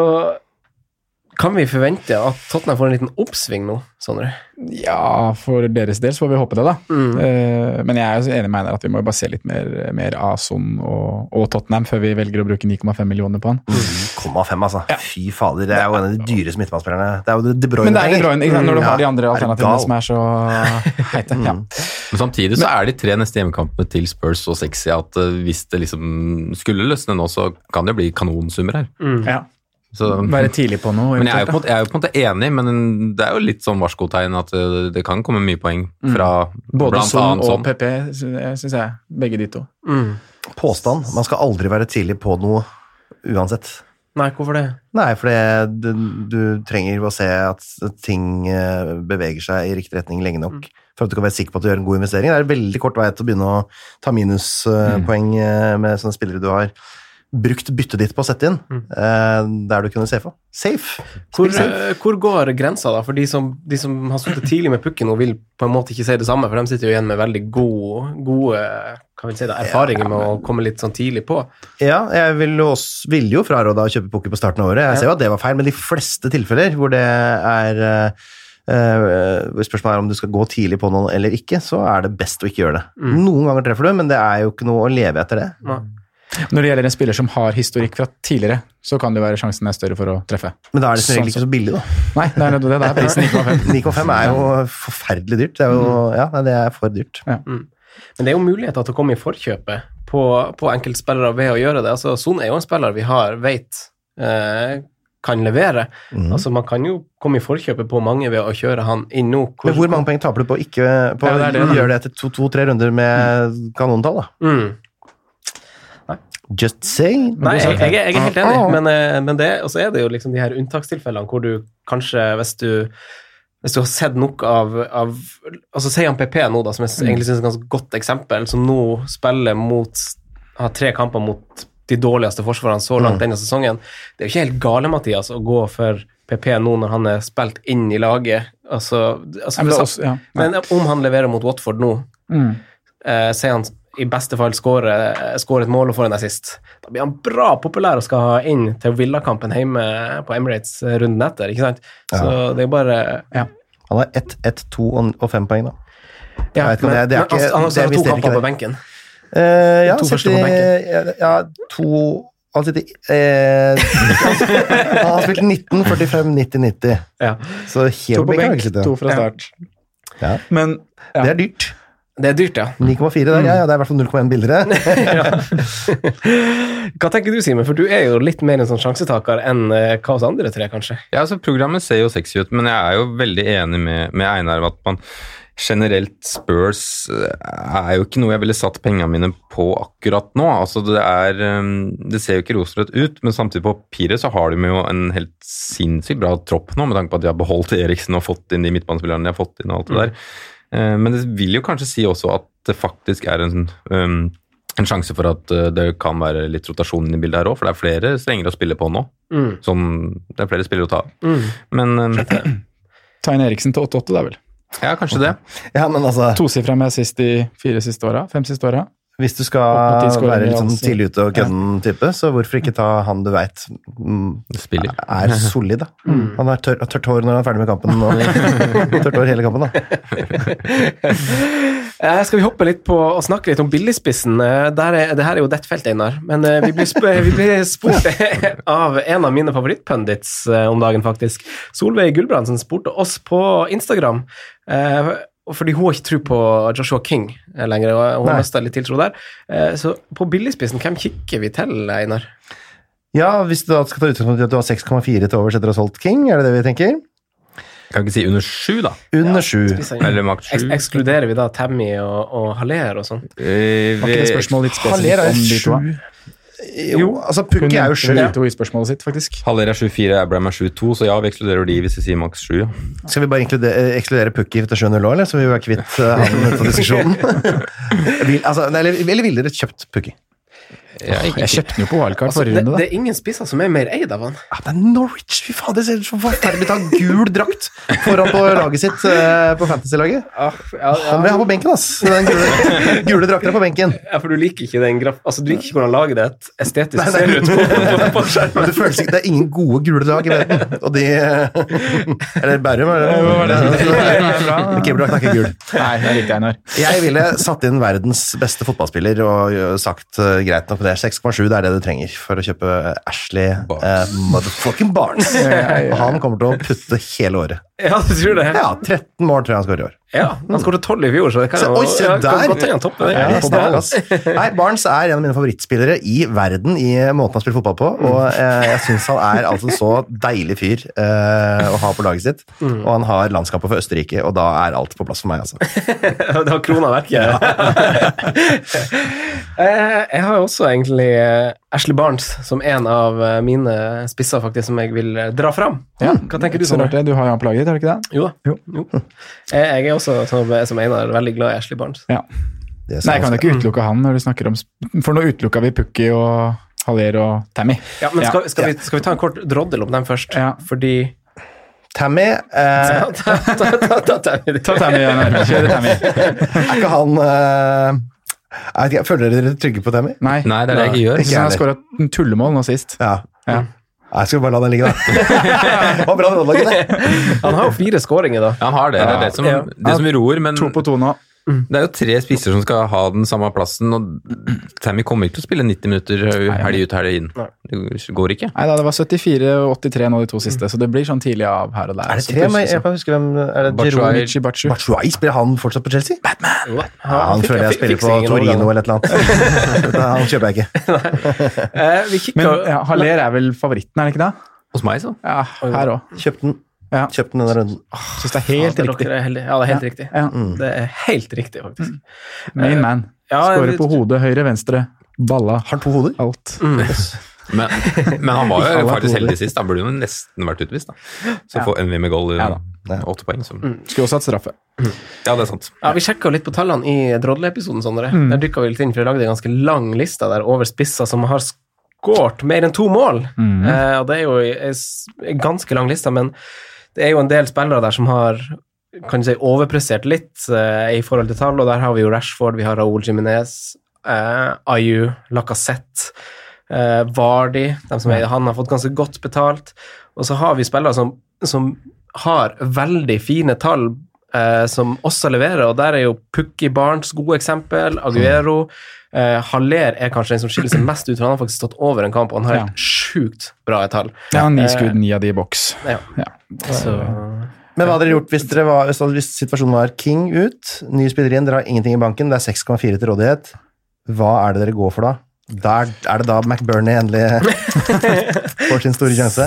kan vi forvente at Tottenham får en liten oppsving nå, Sondre? Ja, for deres del så får vi håpe det, da. Mm. Eh, men jeg er jo så enig med Einar at vi må jo bare se litt mer, mer av Son og, og Tottenham før vi velger å bruke 9,5 millioner på han. 0,5, altså. Fy fader, det er jo en av de dyreste midtbanespillerne. Det er jo De- De Bruyne. Men det er De penger. Bruyne ikke sant, når du har de Mm. Ja, andre er du alternativene gal? Mm. som er så heite. Ja. Men samtidig så er de tre neste hjemmekampene til Spurs så sexy at eh, hvis det liksom skulle løsne nå, så kan det bli kanonsummer her. Ja. Så, Være tidlig på noe. Men jeg er, jo på en måte, eventuelt, jeg er jo på en måte enig, men det er jo litt sånn varskotegn at eh, det kan komme mye poeng fra da. Både blant Son annet og sånn. PP, syns jeg. Begge de to. Mm. Påstand. Man skal aldri være tidlig på noe uansett. Nei, hvorfor det? Nei, for det, det- du trenger å se at ting eh, beveger seg i riktig retning lenge Mm. nok for at du kan være sikker på at du gjør en god investering. Det er veldig kort vei til å begynne å ta minuspoeng Mm. eh, med sånne spillere du har brukt byttet ditt på å sette inn, Mm. eh, der du kunne safe. Safe! Hvor, eh, hvor går grensa, da? For de som, de som har sittet tidlig med pukken og vil på en måte ikke si det samme, for de sitter jo igjen med veldig god, gode hva vil jeg si da, erfaringer med å komme litt sånn tidlig på. Ja, jeg ville jo, også, ville jo fraråda å kjøpe poker på starten av året. Jeg ser jo at det var feil, men de fleste tilfeller hvor det er eh, eh, hvor Spørsmålet er om du skal gå tidlig på noen eller ikke, så er det best å ikke gjøre det. Mm. Noen ganger treffer du, men det er jo ikke noe å leve etter det. Når det gjelder en spiller som har historikk fra tidligere, så kan det være sjansen er større for å treffe. Men da er det som regel Sånn ikke så billig, da. Nei, det er nettopp det. Da er prisen 9,5. 9,5 er jo Mm. forferdelig dyrt. Det er jo ja, nei, det er for dyrt. Men det er jo muligheter til å komme i forkjøpet på, på enkeltspillere ved å gjøre det. Altså, Son er jo en spiller vi har, vet eh, kan levere. Mhm. Altså, Man kan jo komme i forkjøpet på mange ved å kjøre han inn nå. Men hvor mange penger taper du på å ikke på, Ja, det er det, da. gjøre det etter to-tre runder med kanontall, da? Mm. Just saying. Ah, Nei, jeg, jeg, er- jeg er helt enig, men, eh, men det, og så er det jo liksom de her unntakstilfellene hvor du kanskje, hvis du, hvis du har sett nok av, av altså Si han PP nå, da, som jeg s- egentlig synes er et ganske godt eksempel, som nå spiller mot har tre kamper mot de dårligste forsvarene så langt denne sesongen. Det er jo ikke helt gale, Mathias, å gå for PP nå når han er spilt inn i laget. Altså, Ja, men det er altså, hvis også- ja. han- men om han leverer mot Watford nå, Mm. eh, sier han i beste fall skårer eh, skårer et mål og får en assist. Da blir han bra populær og skal ha inn til Villa-kampen hjemme på Emirates eh, runden etter. ikke sant? Så det er jo bare Han har ett, ett, to og og fem poeng, da. Jeg Ja, vet ikke om men, det- det er ikke- men han- han har det også hatt to visste jeg ikke kamper det. på benken. Eh, ja, To han første sitter- på benken. Ja, to Han sitter eh, Han har spilt 19, 45, 90, 90. Ja. Så helt To på benk har han benk, ikke sittet. to fra start. Ja. Men Det er dyrt. Det er dyrt, ja. 9,4 der, ja, ja, det er i hvert fall 0,1 billigere. Hva tenker du, Simen? For du er jo litt mer en sånn sjansetaker enn eh, hva oss andre tre, kanskje. Ja, altså Programmet ser jo sexy ut, men jeg er jo veldig enig med, med Einar om at man generelt Spurs eh, er jo ikke noe jeg ville satt pengene mine på akkurat nå. Altså Det er, eh, det ser jo ikke rosenrødt ut, men samtidig på papiret så har de jo en helt sinnssykt bra tropp nå, med tanke på at de har beholdt Eriksen og fått inn de midtbanespillerne de har fått inn og alt det der. Eh, Men det vil jo kanskje si også at det faktisk er en, um, en sjanse for at eh, det kan være litt rotasjon inn i bildet her òg, for det er flere strenger å spille på nå. Mm. Som det er flere spillere å ta av. Men eh, ta inn Eriksen til 8-8, det er vel. ja, kanskje det. Ja, men altså, Tosifra med assist de fire siste åra. Fem siste åra. hvis du Opp mot skal ti skåringer, være litt sånn altså. tidlig ute og kødden-type, så hvorfor ikke ta han du veit Spiller. er solid, da. Mm. Han har tør, tørt hår når han er ferdig med kampen. Og tørt hår hele kampen, da. Eh, skal vi hoppe litt på og snakke litt om billigspissen? Eh, der er, det her er jo ditt felt, Einar. Men eh, vi blir, sp vi blir spurt av en av mine favorittpundits eh, om dagen, faktisk. Solveig Gulbrandsen spurte oss på Instagram. Eh, og fordi hun har ikke tro på Joshua King eh, lenger. og Hun har Nei. mista litt tiltro der. Eh, så på billigspissen, hvem kikker vi til, Einar? Ja, hvis du da skal ta utgangspunkt i at du har 6,4 til overs etter å ha solgt King, er det det vi tenker? Kan ikke si under sju, da. Under sju. Eller makt Eks sju. ekskluderer vi da Tammy og, og Haller og sånn? Eh, Var ikke det vi- spørsmålet litt Haller spesifikt om er de to? sju. Jo, altså Hun Pukki er jo nevnte sju. vel de to i spørsmålet sitt, faktisk. Haller er 7-4, Abraham er 7-2, så ja, vi ekskluderer de hvis vi sier maks 7. Ja. Skal vi bare inkludere, eh, ekskludere Pukki til 7-0 òg, eller? Så vi er kvitt eh, han fra diskusjonen. Vil, altså, nei, eller, eller ville dere kjøpt Pukki? Jeg kjøpte den jo på wildcard Altså, forrige det, runde, det da. er ingen spisser som er mer eid av han. Ja, det er Norwich! Fy fader, ser ut som forferdelig ut. Han har gul drakt foran på laget sitt eh, på Fantasy-laget. Han vil jeg ha på benken, ass! Den gule, gule drakten er på benken. Ja, for du liker ikke den graf... Altså, du liker ikke hvordan laget ditt estetisk Nei, ser nei. ut på, på, på Men skjermen. det føles ikke Det er ingen gode gule drag i verden. Og de Eller Bærum, er det? Nei, Keeperdrakt er ikke gul. det er riktig, Einar. Jeg ville satt inn verdens beste fotballspiller og sagt eh, greit nok, det er 6,7, det er det du trenger for å kjøpe Ashley Barnes. eh, motherfucking Barnes. Og han kommer til å putte hele året. Ja, du tror det? Ja, 13 mål tror jeg han skårer i år. Ja, Han skåret tolv i fjor, så det kan Se- jo oi, se ja, der. kan godt hende han topper det. Ja, Ja, på ball, ass. Nei, Barnes er en av mine favorittspillere i verden i måten han spiller fotball på. Og eh, jeg syns han er altså en så deilig fyr eh, å ha på laget sitt. Mm. Og han har landskapet for Østerrike, og da er alt på plass for meg, altså. det har krona vekk. Eh, jeg har jo også egentlig eh, Ashley Barnes som en av eh, mine spisser faktisk som jeg vil eh, dra fram. Ja, Hva tenker du, så rart Sondre? det. Du har jo han på laget ditt, har du ikke det? Jo da. Jo. Eh, Jeg er også, som, som Einar, veldig glad i Ashley Barnes. Ja. Det Nei, jeg kan han jo ikke utelukke han når du snakker om sp- For nå utelukka vi Pukki og Haller og Tammy. Ja, men skal, skal, vi, skal vi ta en kort droddel om dem først? Ja. Fordi Tammy, eh, Ta- ta- ta- ta- ta- ta- Ta Tammy, Einar. Kjør Tammy. er ikke han eh, jeg vet ikke, Føler dere dere trygge på Tammy? Nei. Nei, det er det jeg ikke gjør. Så han har skåra tullemål nå sist. Ja. Ja. Jeg skal bare la den ligge, da. Det var bra rådlag, det. Han har jo fire skåringer, da. Ja, han har det. Det er det som, det som ror, men To på to nå. Det er jo tre spisser som skal ha den samme plassen, og Tammy kommer ikke til å spille 90 minutter helg ut, helg inn. Det går ikke. Nei da, det var 74 og 83 nå de to siste, så det blir sånn tidlig av her og der. Er det tre? Men jeg kan huske hvem er det Batshuayi, Giroud- Batshuayi, Spiller han fortsatt på Chelsea? Batman! han fikk- føler jeg fikk- spiller fikk på sikkert Torino overgang. eller et eller annet. Dette, han kjøper jeg ikke. Eh, Men ja, Haller er vel favoritten, er det ikke det? Hos meg, så. Ja, her òg. Kjøpt den. Ja. Kjøpt den denne runden. Syns det er helt Dere riktig. er heldige. Ja, det er helt Ja. riktig. Ja. Det er helt riktig, faktisk. Main man. Ja, Skårer det- på hodet, høyre, venstre. Balla. Har han to hoder? Alt. Men, men han var Alle jo er faktisk gode. heldig sist. Da burde jo nesten vært utvist. da. Så få NVM med goal i Ja da. Mm. åtte poeng. Så. Skulle også hatt straffe. Ja, det er sant. Ja, Vi sjekka litt på tallene i Drodle-episoden, Sondre. Mm. Der dykka vi litt inn, for vi lagde en ganske lang liste der over spisser som har skåret mer enn to mål. Mhm. Eh, og det er jo en s- en ganske lang liste, men det er jo en del spillere der som har kan du si, overprestert litt eh, i forhold til tall, og der har vi jo Rashford, vi har Raúl Jiminez, eh, Ayu, Lacassette, eh, Vardy dem som er, Han har fått ganske godt betalt. Og så har vi spillere som, som har veldig fine tall, eh, som også leverer, og der er jo Pukki Barnes gode eksempel, Aguero. Eh, Haller er kanskje den som skiller seg mest ut, for han har faktisk stått over en kamp, og han har Ja. helt sjukt bra tall. Ja, ni Eh, skudd, ni av de i boks. Ja. Ja. Så Men hva hadde dere gjort hvis, dere var, så hvis situasjonen var King ut, ny spiller inn, dere har ingenting i banken, det er 6,4 til rådighet. Hva er det dere går for da? Der, er det da McBurney endelig får sin store sjanse?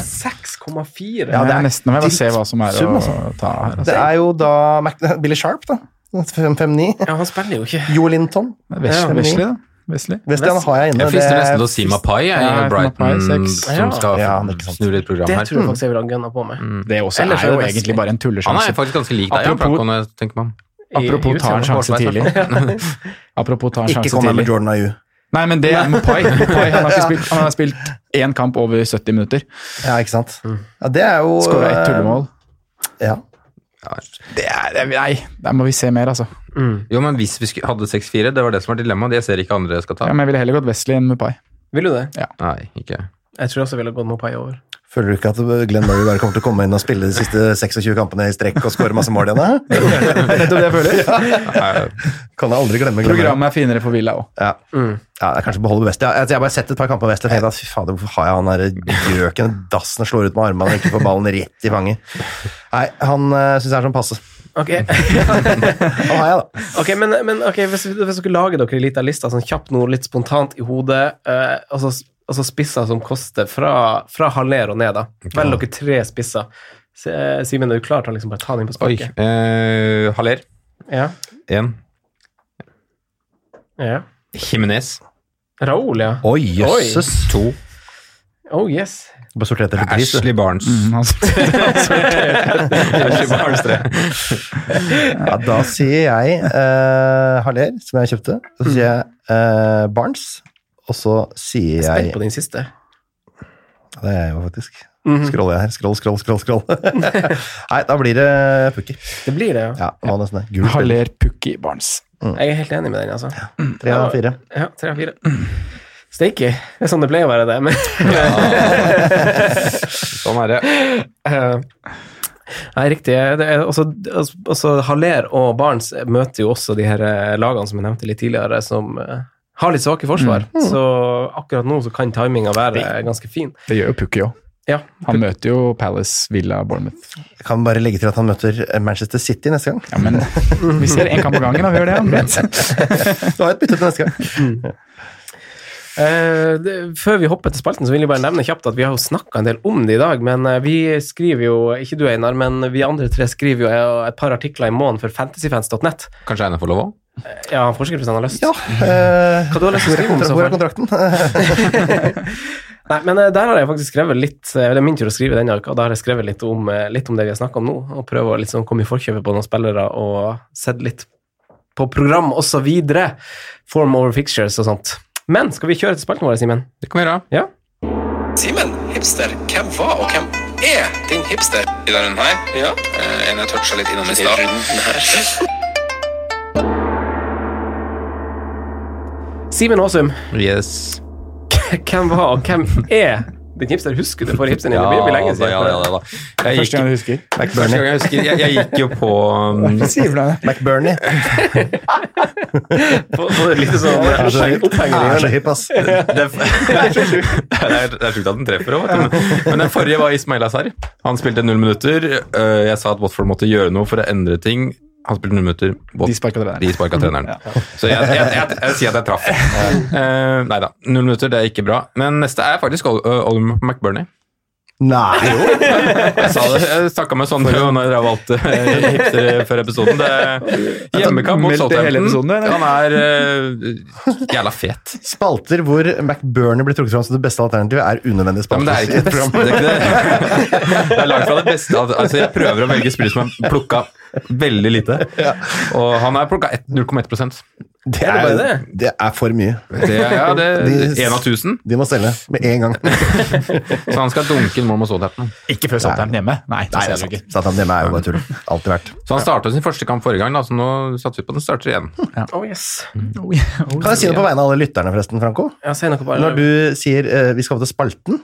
6,4? Ja, det er nesten Jeg vil bare se dritt hva som er sum, å altså. ta her. Det er jo da Mac Billy Sharp, da. 5-5-9. Ja, han spiller jo ikke. Jo Linton. Wes- Ja. Wesley, da. Wesley. Westian har jeg inne. Jeg frister det- nesten til å si Mapai jeg, Ja, i Brighton, Mapai, seks. som skal Ja, det er ikke sant. snu litt program Det her. tror jeg faktisk jeg ville ha gunna på meg. Det også Ellers er er jo det Wesley. egentlig bare Han en er tullesjanse. faktisk ganske lik deg, Apropos- Apropos... tenker man. I- i Apropos ta en utseendet. sjanse tidlig. Apropos ta en Ikke sjanse kom her med tidlig. Jordan Ayew. Nei, men det er Mopai. Mopai han, har ikke spilt, han har spilt én kamp over 70 minutter. Ja, ikke sant? Ja, det er jo eh, Skåra Mm. ett tullemål. Ja. Det er, det- nei, der må vi se mer, altså. Jo, men hvis vi sku- hadde 6-4, det var det som var dilemmaet. Jeg ser ikke andre jeg skal ta. Ja, men jeg ville heller gått Wesley enn Mopai. Vil du det? Nei, ikke. Jeg tror også jeg ville gått Mopai over. Føler du ikke at Glenn Murray bare kommer til å komme inn og spille de siste 26 kampene i strekk og skåre masse mål igjen? hæ? Nei, Kan jeg aldri glemme Glenn Murray. Programmet er finere for Villa òg. Ja. Ja, jeg kanskje beholder West. Ja, altså, jeg har bare sett et par kamper på West og tenkt at fy fader, hvorfor har jeg han der gjøken dassen og slår ut med armene og ikke får ballen rett i fanget? Nei, han uh, syns jeg er sånn passe. Ok, Han har jeg, da. Ok, men, men ok, hvis, hvis dere lager dere en liten liste sånn kjapt nå, litt spontant i hodet, eh, altså, altså spisser som koster fra, fra Haller og ned, da. Velg dere tre spisser. Se, Simen, er du klar til å liksom bare ta den inn på Oi. sparket? Eh, Haller. Ja. Én. ja. Jimenez. Raoul, ja. Oi, jøsses. To. Oh yes. Bare sortert etter pris. du. Ashley Barnes. Ashley Barnes tre. Ja, da sier jeg eh, Haller, som jeg kjøpte. Så sier jeg eh, Barnes. Og så sier Spent jeg på din siste. Mhm. Ja, Det er jeg jo faktisk. Scroller jeg her. Scroll, scroll, scroll. scroll. Nei, da blir det Pukki. Det blir det, ja. Ja, det var nesten det. Gul spiller. Haller Pukki Barnes. Jeg er helt enig med den, altså. Tre av fire. Ja, tre av fire. Steaky. Det er sånn det pleier å være, det. Men Sånn er det. Eh, Nei, riktig. Det er også, også Haller og Barents møter jo også de her eh, lagene som jeg nevnte litt tidligere, som eh, har litt svake forsvar. Mm. Så akkurat nå så kan timinga være ganske fin. Det gjør jo Pukki òg. Ja, Han møter jo Palace, Villa, Bournemouth. Jeg kan bare legge til at han møter Manchester City neste gang. Ja, men vi ser én kamp av gangen, da. Vi gjør det. ja. Du har et bytte til neste gang. Eh, det, før vi hopper til spalten, så vil jeg bare nevne kjapt at vi har jo snakka en del om det i dag. Men eh, vi skriver jo, ikke du Einar, men vi andre tre skriver jo eh, et par artikler i måneden for fantasyfans.net. Kanskje Einar får lov òg? Ja, han forsker hvis han har lyst. Ja. eh, Hva du har lyst til å skrive om, i så hvor er fall? kontrakten? Nei, men eh, der har jeg faktisk skrevet litt eh, Det er min tur å skrive denne uka, og da har jeg skrevet litt om, eh, litt om det vi har snakka om nå. Og prøve å liksom komme i forkjøpet på noen spillere og sett litt på program osv. Form over fixtures og sånt. Men skal vi kjøre til spalten vår, Simen? Det kan vi gjøre. Ja? Simen, hipster, hvem var og hvem er din hipster? I denne runden her? Ja. Eh, En jeg toucha litt innom i stad. Simen Aasum, Yes. hvem var og hvem er Din hipster, husker du forrige hipsteren din? Ja, Det blir- blir lenge da, siden. ja, ja, ja, da. Jeg Første gang du husker. Det er ikke første gang jeg husker. Jeg, jeg gikk jo på um, Sier du det? McBurnie. På, på det lite sånn Jeg er så hypp. opphenger i Jeg er så hjørnet. hypp, ass. det, er det er sjukt at den treffer òg. Men den forrige var Ismail Azar. Han spilte null minutter. Eh, Jeg sa at Watford måtte gjøre noe for å endre ting. Han spilte null minutter. Wat- De sparka treneren. De sparka treneren. Så jeg, jeg, jeg, jeg, sier at jeg traff. Uh, nei da. Null minutter, det er ikke bra. Men neste er faktisk Ol- eh, Oliver McBurnie. Nei, jo. Jeg sa det, jeg snakka med Sondre når jeg valgte eh, hipster før episoden. Det er hjemmekamp mot Meldte hele Southampton. episoden, eller? Han er eh, jævla fet. Spalter hvor McBurnie blir trukket fram som det beste alternativet, er unødvendige Ja, men spalter. det er ikke det beste. Det er, ikke det. det er langt fra det beste. Al- Altså, jeg prøver å velge spill som er plukka veldig lite. Og han er plukka 0,1 Det Er det bare er, det er for mye. Det er ja, det De- 1 av 1000. De må selge med en gang. Så han skal dunke inn mål mot Southampton. Ikke før Southampton hjemme. Nei, det Nei, det ser du er ikke. sant. altså, Satan, det er jo bare tull. Alltid vært. Så han starta sin første kamp forrige gang, da, så nå satser vi på at han starter igjen. Oh, yes. Kan jeg si noe på vegne av alle lytterne, forresten, Franco? Ja, si noe bare. Når du sier eh, vi skal over til spalten,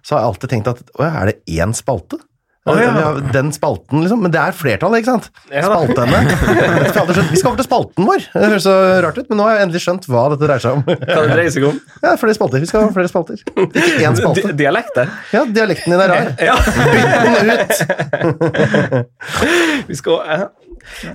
så har jeg alltid tenkt at å, er det én spalte? Å, ja. Vi har Den spalten, liksom. Men det er flertallet, ikke sant? Ja da. Spaltene. Jeg har aldri skjønt- Vi skal over til spalten vår. Det høres så rart ut, men nå har jeg endelig skjønt hva dette dreier seg om. Hva det dreier seg om? Ja, flere spalter. Vi skal ha flere spalter. Ikke én Di- spalte. Dialekter. Ja, dialekten din er rar. Ja. Bytt den ut. Vi skal eh.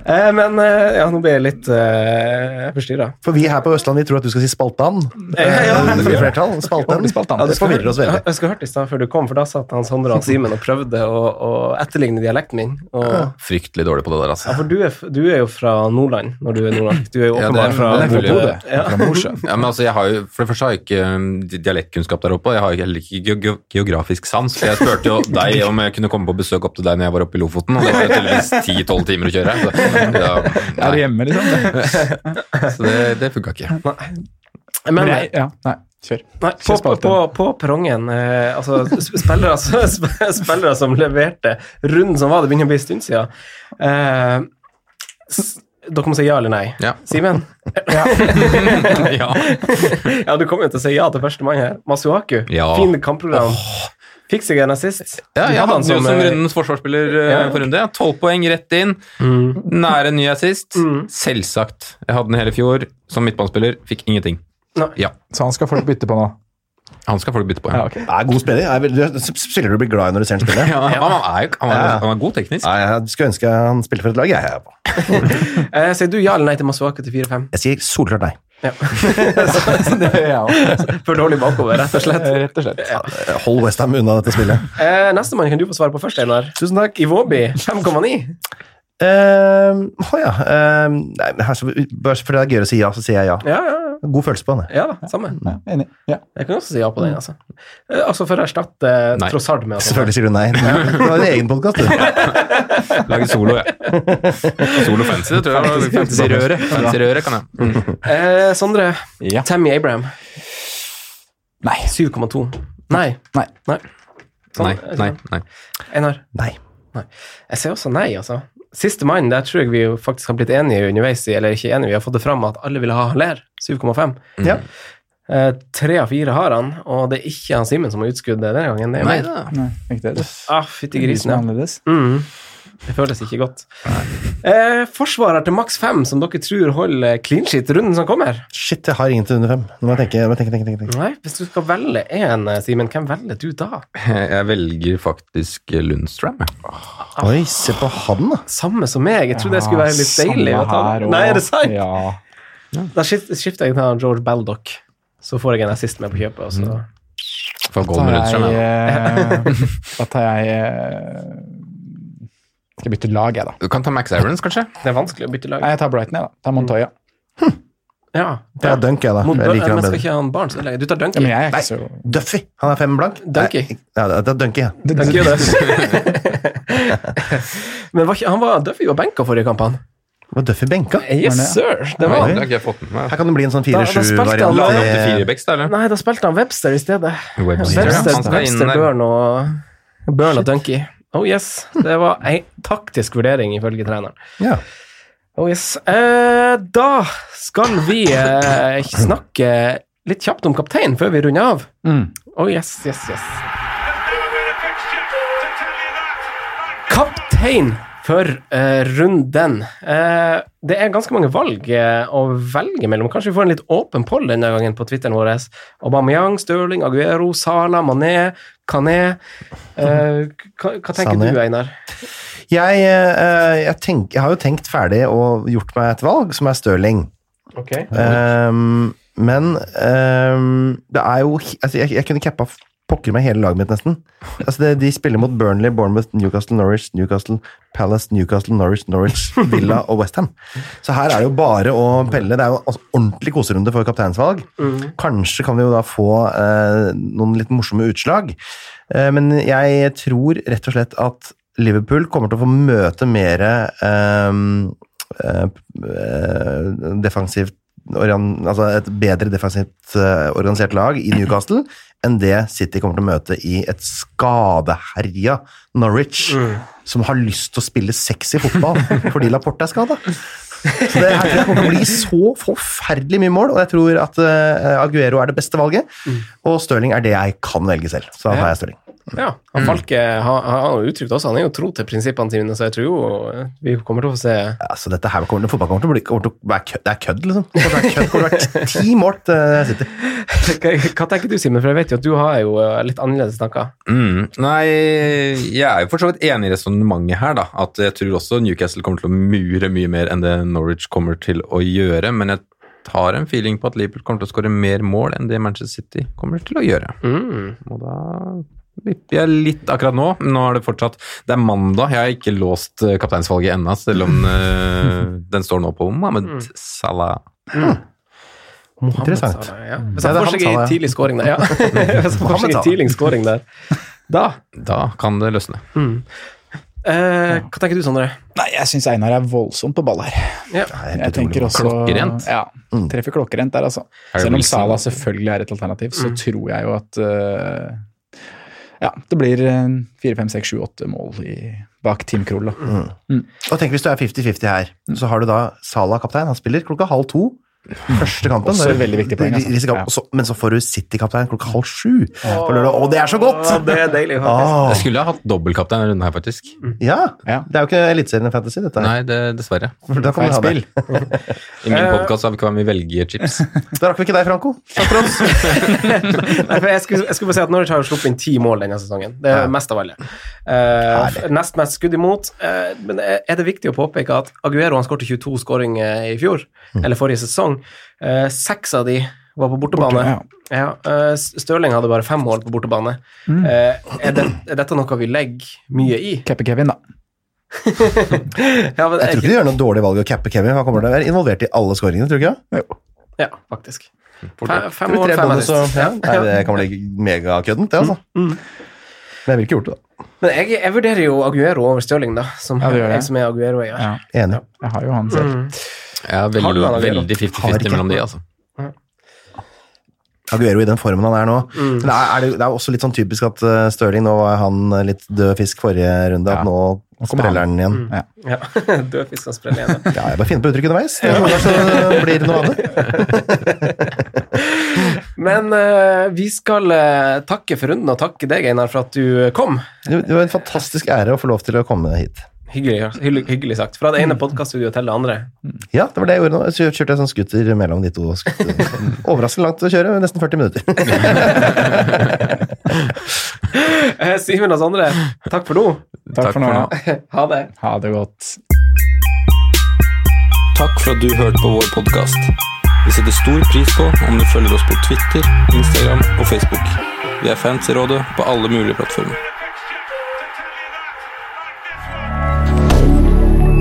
Eh, Men eh, ja, nå blir jeg litt eh, forstyrra. For vi her på Østlandet vi tror at du skal si spaltan. Ja, ja. Eh, Det blir flertall. Spalten. Spaltan. Ja, det forvirrer oss veldig. Jeg skulle hørt i stad før du kom, for da satt han Sondre og Simen og prøvde å, å etterligne dialekten min. Og, ja, Fryktelig dårlig på det der, altså. for du er, f- du er jo fra Nordland, når du er nordnorsk. Du er jo Ja, det er- åpenbart fra det er Bodø. Bodø. Ja. Fra Mosjøen. Ja, men altså, jeg har jo, for det første har jeg ikke um, di- dialektkunnskap der oppe, og jeg har ikke- heller ikke ge- ge- geografisk sans. For jeg spurte jo deg om jeg kunne komme på besøk opp til deg når jeg var oppe i Lofoten, og det var jo tydeligvis 10-12 timer å kjøre. Så, ja, Er du nei, hjemme, liksom? så det, det funka ikke. Men, Men jeg, ja, nei, kjør. Nei, på, på, på, på perrongen eh, altså, sp- spillere, som- sp- spillere som leverte runden som var, det begynner å bli en stund siden. Eh, s, dere må si ja eller nei. Ja. Simen? ja. Ja, du kommer jo til å si ja til første mann her. Masuaku. Ja. Fin kampprogram. Fikk seg en assist. Ja, Du jeg hadde han hadde jo som eh, rundens forsvarsspiller eh, Ja. for runde. ja. Mm. 12 poeng rett inn. Nære ny assist. Selvsagt. Jeg hadde den hele i fjor som midtbanespiller. Fikk ingenting. Nei. Ja, Så han skal folk bytte på nå? han skal folk bytte på. Ja, Ja. ok. Ja, god spiller. Jeg er veldig- du- Spiller du blir glad i når du ser han spille? Ja, han, er, jo- han, er, Ja. han er god teknisk. Nei, jeg skulle ønske han spilte for et lag. Jeg, jeg, Eh, sier du ja eller nei til Masuaku til 4-5? jeg sier solklart nei. Det gjør jeg også. For dårlig bakover, rett og slett. Rett og slett. Hold Westham unna dette spillet. Eh, Nestemann kan du få svare på først, Einar. Tusen takk. Iwobi, 5,9. Ehm, Å ja. ehm, nei, men her, så, bare fordi det er gøy å si ja, så sier jeg ja. Ja, ja, God følelse på han. jeg. ja da, samme. Ja, enig. Ja. Jeg kan også si ja på den, altså. Eh, altså for å erstatte Mm. Nei. eh, Trossard med altså. Selvfølgelig sier du nei. Du har din egen podkast, du. Lage solo, jeg. Solo fancy, det tror jeg. Fancy røre. Fancy røre kan jeg. Mm. Eh, Sondre, Ja. Tammy Abraham. Nei. 7,2. Nei. Sånn, Nei. Nei, nei, nei. Einar. Nei. Nei. Jeg sier også nei, altså. Siste mann, der tror jeg vi jo faktisk har blitt enige underveis i, eller ikke enige, vi har fått det fram at alle ville ha Haller. 7,5. Mm. Ja. Eh, Tre av fire har han, og det er ikke han Simen som har utskuddet denne gangen. Det er Nei meg. da. Nei, ikke det. Ah, De Fytti som grisen, er ja. annerledes. Mm. Det føles ikke godt. Eh, forsvarer til maks fem, som dere tror holder clean shit runden som kommer. Shit, jeg har ingen til under fem. Nå må jeg tenke. Nå må jeg tenke, tenke, tenke, tenke. Nei, Hvis du skal velge én, Simen, hvem velger du da? Jeg velger faktisk Lundstrøm. Oi, se på han, da. Samme som meg. Jeg trodde det skulle være litt Ja, deilig. å Ah, samme ta- her også. Nei, er det sant? Ja. Da skift- skifter jeg til George Baldock. Så får jeg en assist med på kjøpet. Og Mm. så. For Da Golden tar Lundstrøm. ja. jeg, eh, da tar jeg eh, Skal jeg bytte lag, jeg, da. Du kan ta Max Aarons, kanskje? Det er vanskelig å bytte lag. Nei, jeg tar Brighton, jeg, da. Tar Montoya. Ja, Ja, Dunk, jeg, da. Mot, Jeg liker men han skal bedre. ikke han barn så lenge? Du tar Dunky. Ja, men jeg er Nei. ikke så Duffy. Han er fem blank. Dunky. Nei, Ja, det er Dunky, ja. det, Dunky gjør det. men var ikke, han var Duffy var benka forrige kamp, han. Var Duffy benka? Yes, sir! Det var Nei, han. det har ikke jeg fått med meg. Her kan det bli en sånn Da- da spilte han 4-7-variant. lag Til opp Det- firebacks, da, eller? Nei, da spilte han Webster i stedet. Webster, ja. Webster, Han skal inn Webster der. Burn og Burn og Dunky. Oh yes. Det var ei taktisk vurdering, ifølge treneren. Ja. Oh yes. Eh, da skal vi eh, snakke litt kjapt om kapteinen før vi runder av. Mm. Oh yes, yes, yes. Kaptein for eh, runden. Eh, det er ganske mange valg eh, å velge mellom. Kanskje vi får en litt åpen poll denne gangen på Twitteren vår. Aubameyang, Stirling, Aguero, Sala, Mané, Kané. Eh, hva, hva tenker Sané. du, Einar? Jeg, eh, jeg, tenk, jeg har jo tenkt ferdig og gjort meg et valg, som er Stirling. Ehm, men ehm, det er jo altså, jeg, jeg kunne cappa f- pokker meg hele laget mitt, nesten. Altså, det, de spiller mot Burnley, Bournemouth, Newcastle, Norwich, Newcastle, Palace, Newcastle, Norwich, Norwich, Villa og Westham. Så her er det jo bare å pelle. Det er jo altså, ordentlig koserunde for kapteinsvalg. Mm. Kanskje kan vi jo da få eh, noen litt morsomme utslag. Eh, men jeg tror rett og slett at Liverpool kommer til å få møte mer eh, eh, eh, defensivt oran- Altså et bedre defensivt eh, organisert lag i Newcastle enn det City kommer til å møte i et skadeherja Norwich, Mm. som har lyst til å spille sexy fotball fordi Laporte er skada. Så det, her, tror jeg kommer til å bli så forferdelig mye mål, og jeg tror at eh, Aguero er det beste valget. Mm. Og Stirling er det jeg kan velge selv, så da tar jeg Stirling. Ja, han Falke har, har han jo uttrykt også. Han er jo tro til prinsippene sine, så jeg tror jo eh, vi kommer til å få se Altså, dette her kommer, fotball kommer til å bli kommer til å være kødd, det er kødd, liksom. Det kommer til å være kødd, kommer til å være ti mål til eh, City. Hva hva tenker du, Simen? For jeg vet jo at du har jo eh, litt annerledes tanker. Mm. Nei, jeg er jo for så vidt enig i resonnementet her, da. At jeg tror også Newcastle kommer til å mure mye mer enn det Norwich kommer til å gjøre. Men jeg har en feeling på at Liverpool kommer til å skåre mer mål enn det Manchester City kommer til å gjøre. Og da vipper jeg litt akkurat nå. Nå er det fortsatt Det er mandag, jeg har ikke låst eh, kapteinsvalget ennå, selv om eh, den står nå på Mohammed Mm. Salah. Interessant. Salah, ja. Hvis Ja, han det er får seg han, en Salah, ja. tidlig scoring der, ja. Hvis han får seg en Salah. tidlig scoring der. Da Da kan det løsne. eh, Hva tenker du, Sondre? Nei, jeg syns Einar er voldsomt på ball her. Ja. Jeg tenker også Klokkerent. Ja, treffer klokkerent der, altså. Harry Selv om Wilson. Salah selvfølgelig er et alternativ, så Mm. tror jeg jo at eh, Ja, det blir eh, fire, fem, seks, sju, åtte mål i, bak Team Krull, da. Og tenk hvis du er 50-50 her, så har du da Salah kaptein, han spiller klokka halv to. Første kampen. Også Det er et veldig viktig poeng, altså. risikabelt. Ja. Og så- Men så får du City-kaptein klokka halv sju på lørdag, og det er så godt! det er deilig, Ah, Jeg skulle ha hatt dobbeltkaptein denne runden her, faktisk. ja, Ja. det er jo ikke Eliteserien i Fantasy, dette her. Nei, det, dessverre. For Da, kan Feil vi ha det. spill. I Eh, min podkast har vi ikke hvem vi velger chips. da rakk vi ikke deg, Franco. Nei, for jeg, skulle, jeg skulle bare si at Norwich har jo sluppet inn ti mål denne sesongen. Det er Ja. mest av alle. Eh, nest mest skudd imot. Eh, men er det viktig å påpeke at Aguero han skårte 22 skåringer i fjor, Mm. eller forrige sesong. Eh, seks av de var på bortebane. Borte, ja. Ja, eh, Stirling hadde bare fem mål på bortebane. Mm. Eh, er, det, er dette noe vi legger mye i? Keppe-Kevin, da. Ja, men, Jeg tror ikke du gjør noe dårlig valg å cappe Kevin. Han kommer til å være involvert i alle skåringene, tror du ikke? ja faktisk. Fem, fem Tror du mål, tre fem bonus og assist. ja. Ja. Nei, det kan bli megakøddent, det, altså. Mm. Men jeg ville ikke gjort det, da. Men jeg, jeg vurderer jo Aguero over Stirling, da. Som, Ja, du gjør det. jeg som er Aguero-eier. Ja. Enig. Jeg har jo han Mm. selv. Jeg er Har veldig, du han allerede? veldig Har ikke. 50-50 mellom de, altså. Aguero i den formen han er nå. Men det, er, er det, det er også litt sånn typisk at uh, Stirling nå var han eh, litt død fisk forrige runde, at Ja. nå kommer spreller han igjen. Ja. Død fisk skal sprelle igjen. da. Ja, jeg bare finner på uttrykk underveis. Det er noe der som eh, blir noe av det. Men eh, vi skal eh, takke for runden, og takke deg, Einar, for at du eh, kom. Det det var en fantastisk ære å få lov til å komme hit. Hyggelig, hyggelig, hyggelig sagt. Fra det ene podcaststudioet til det andre. Ja, det var det jeg gjorde nå. Så jeg kjørte en sånn scooter mellom de to. skutene. Overraskende langt å kjøre, nesten 40 minutter. Eh, Simen og Sondre, takk for nå. Takk for nå. Ha det. Ha det godt. Takk for at du hørte på vår podkast. Vi setter stor pris på om du følger oss på Twitter, Instagram og Facebook. Vi er fans i rådet på alle mulige plattformer.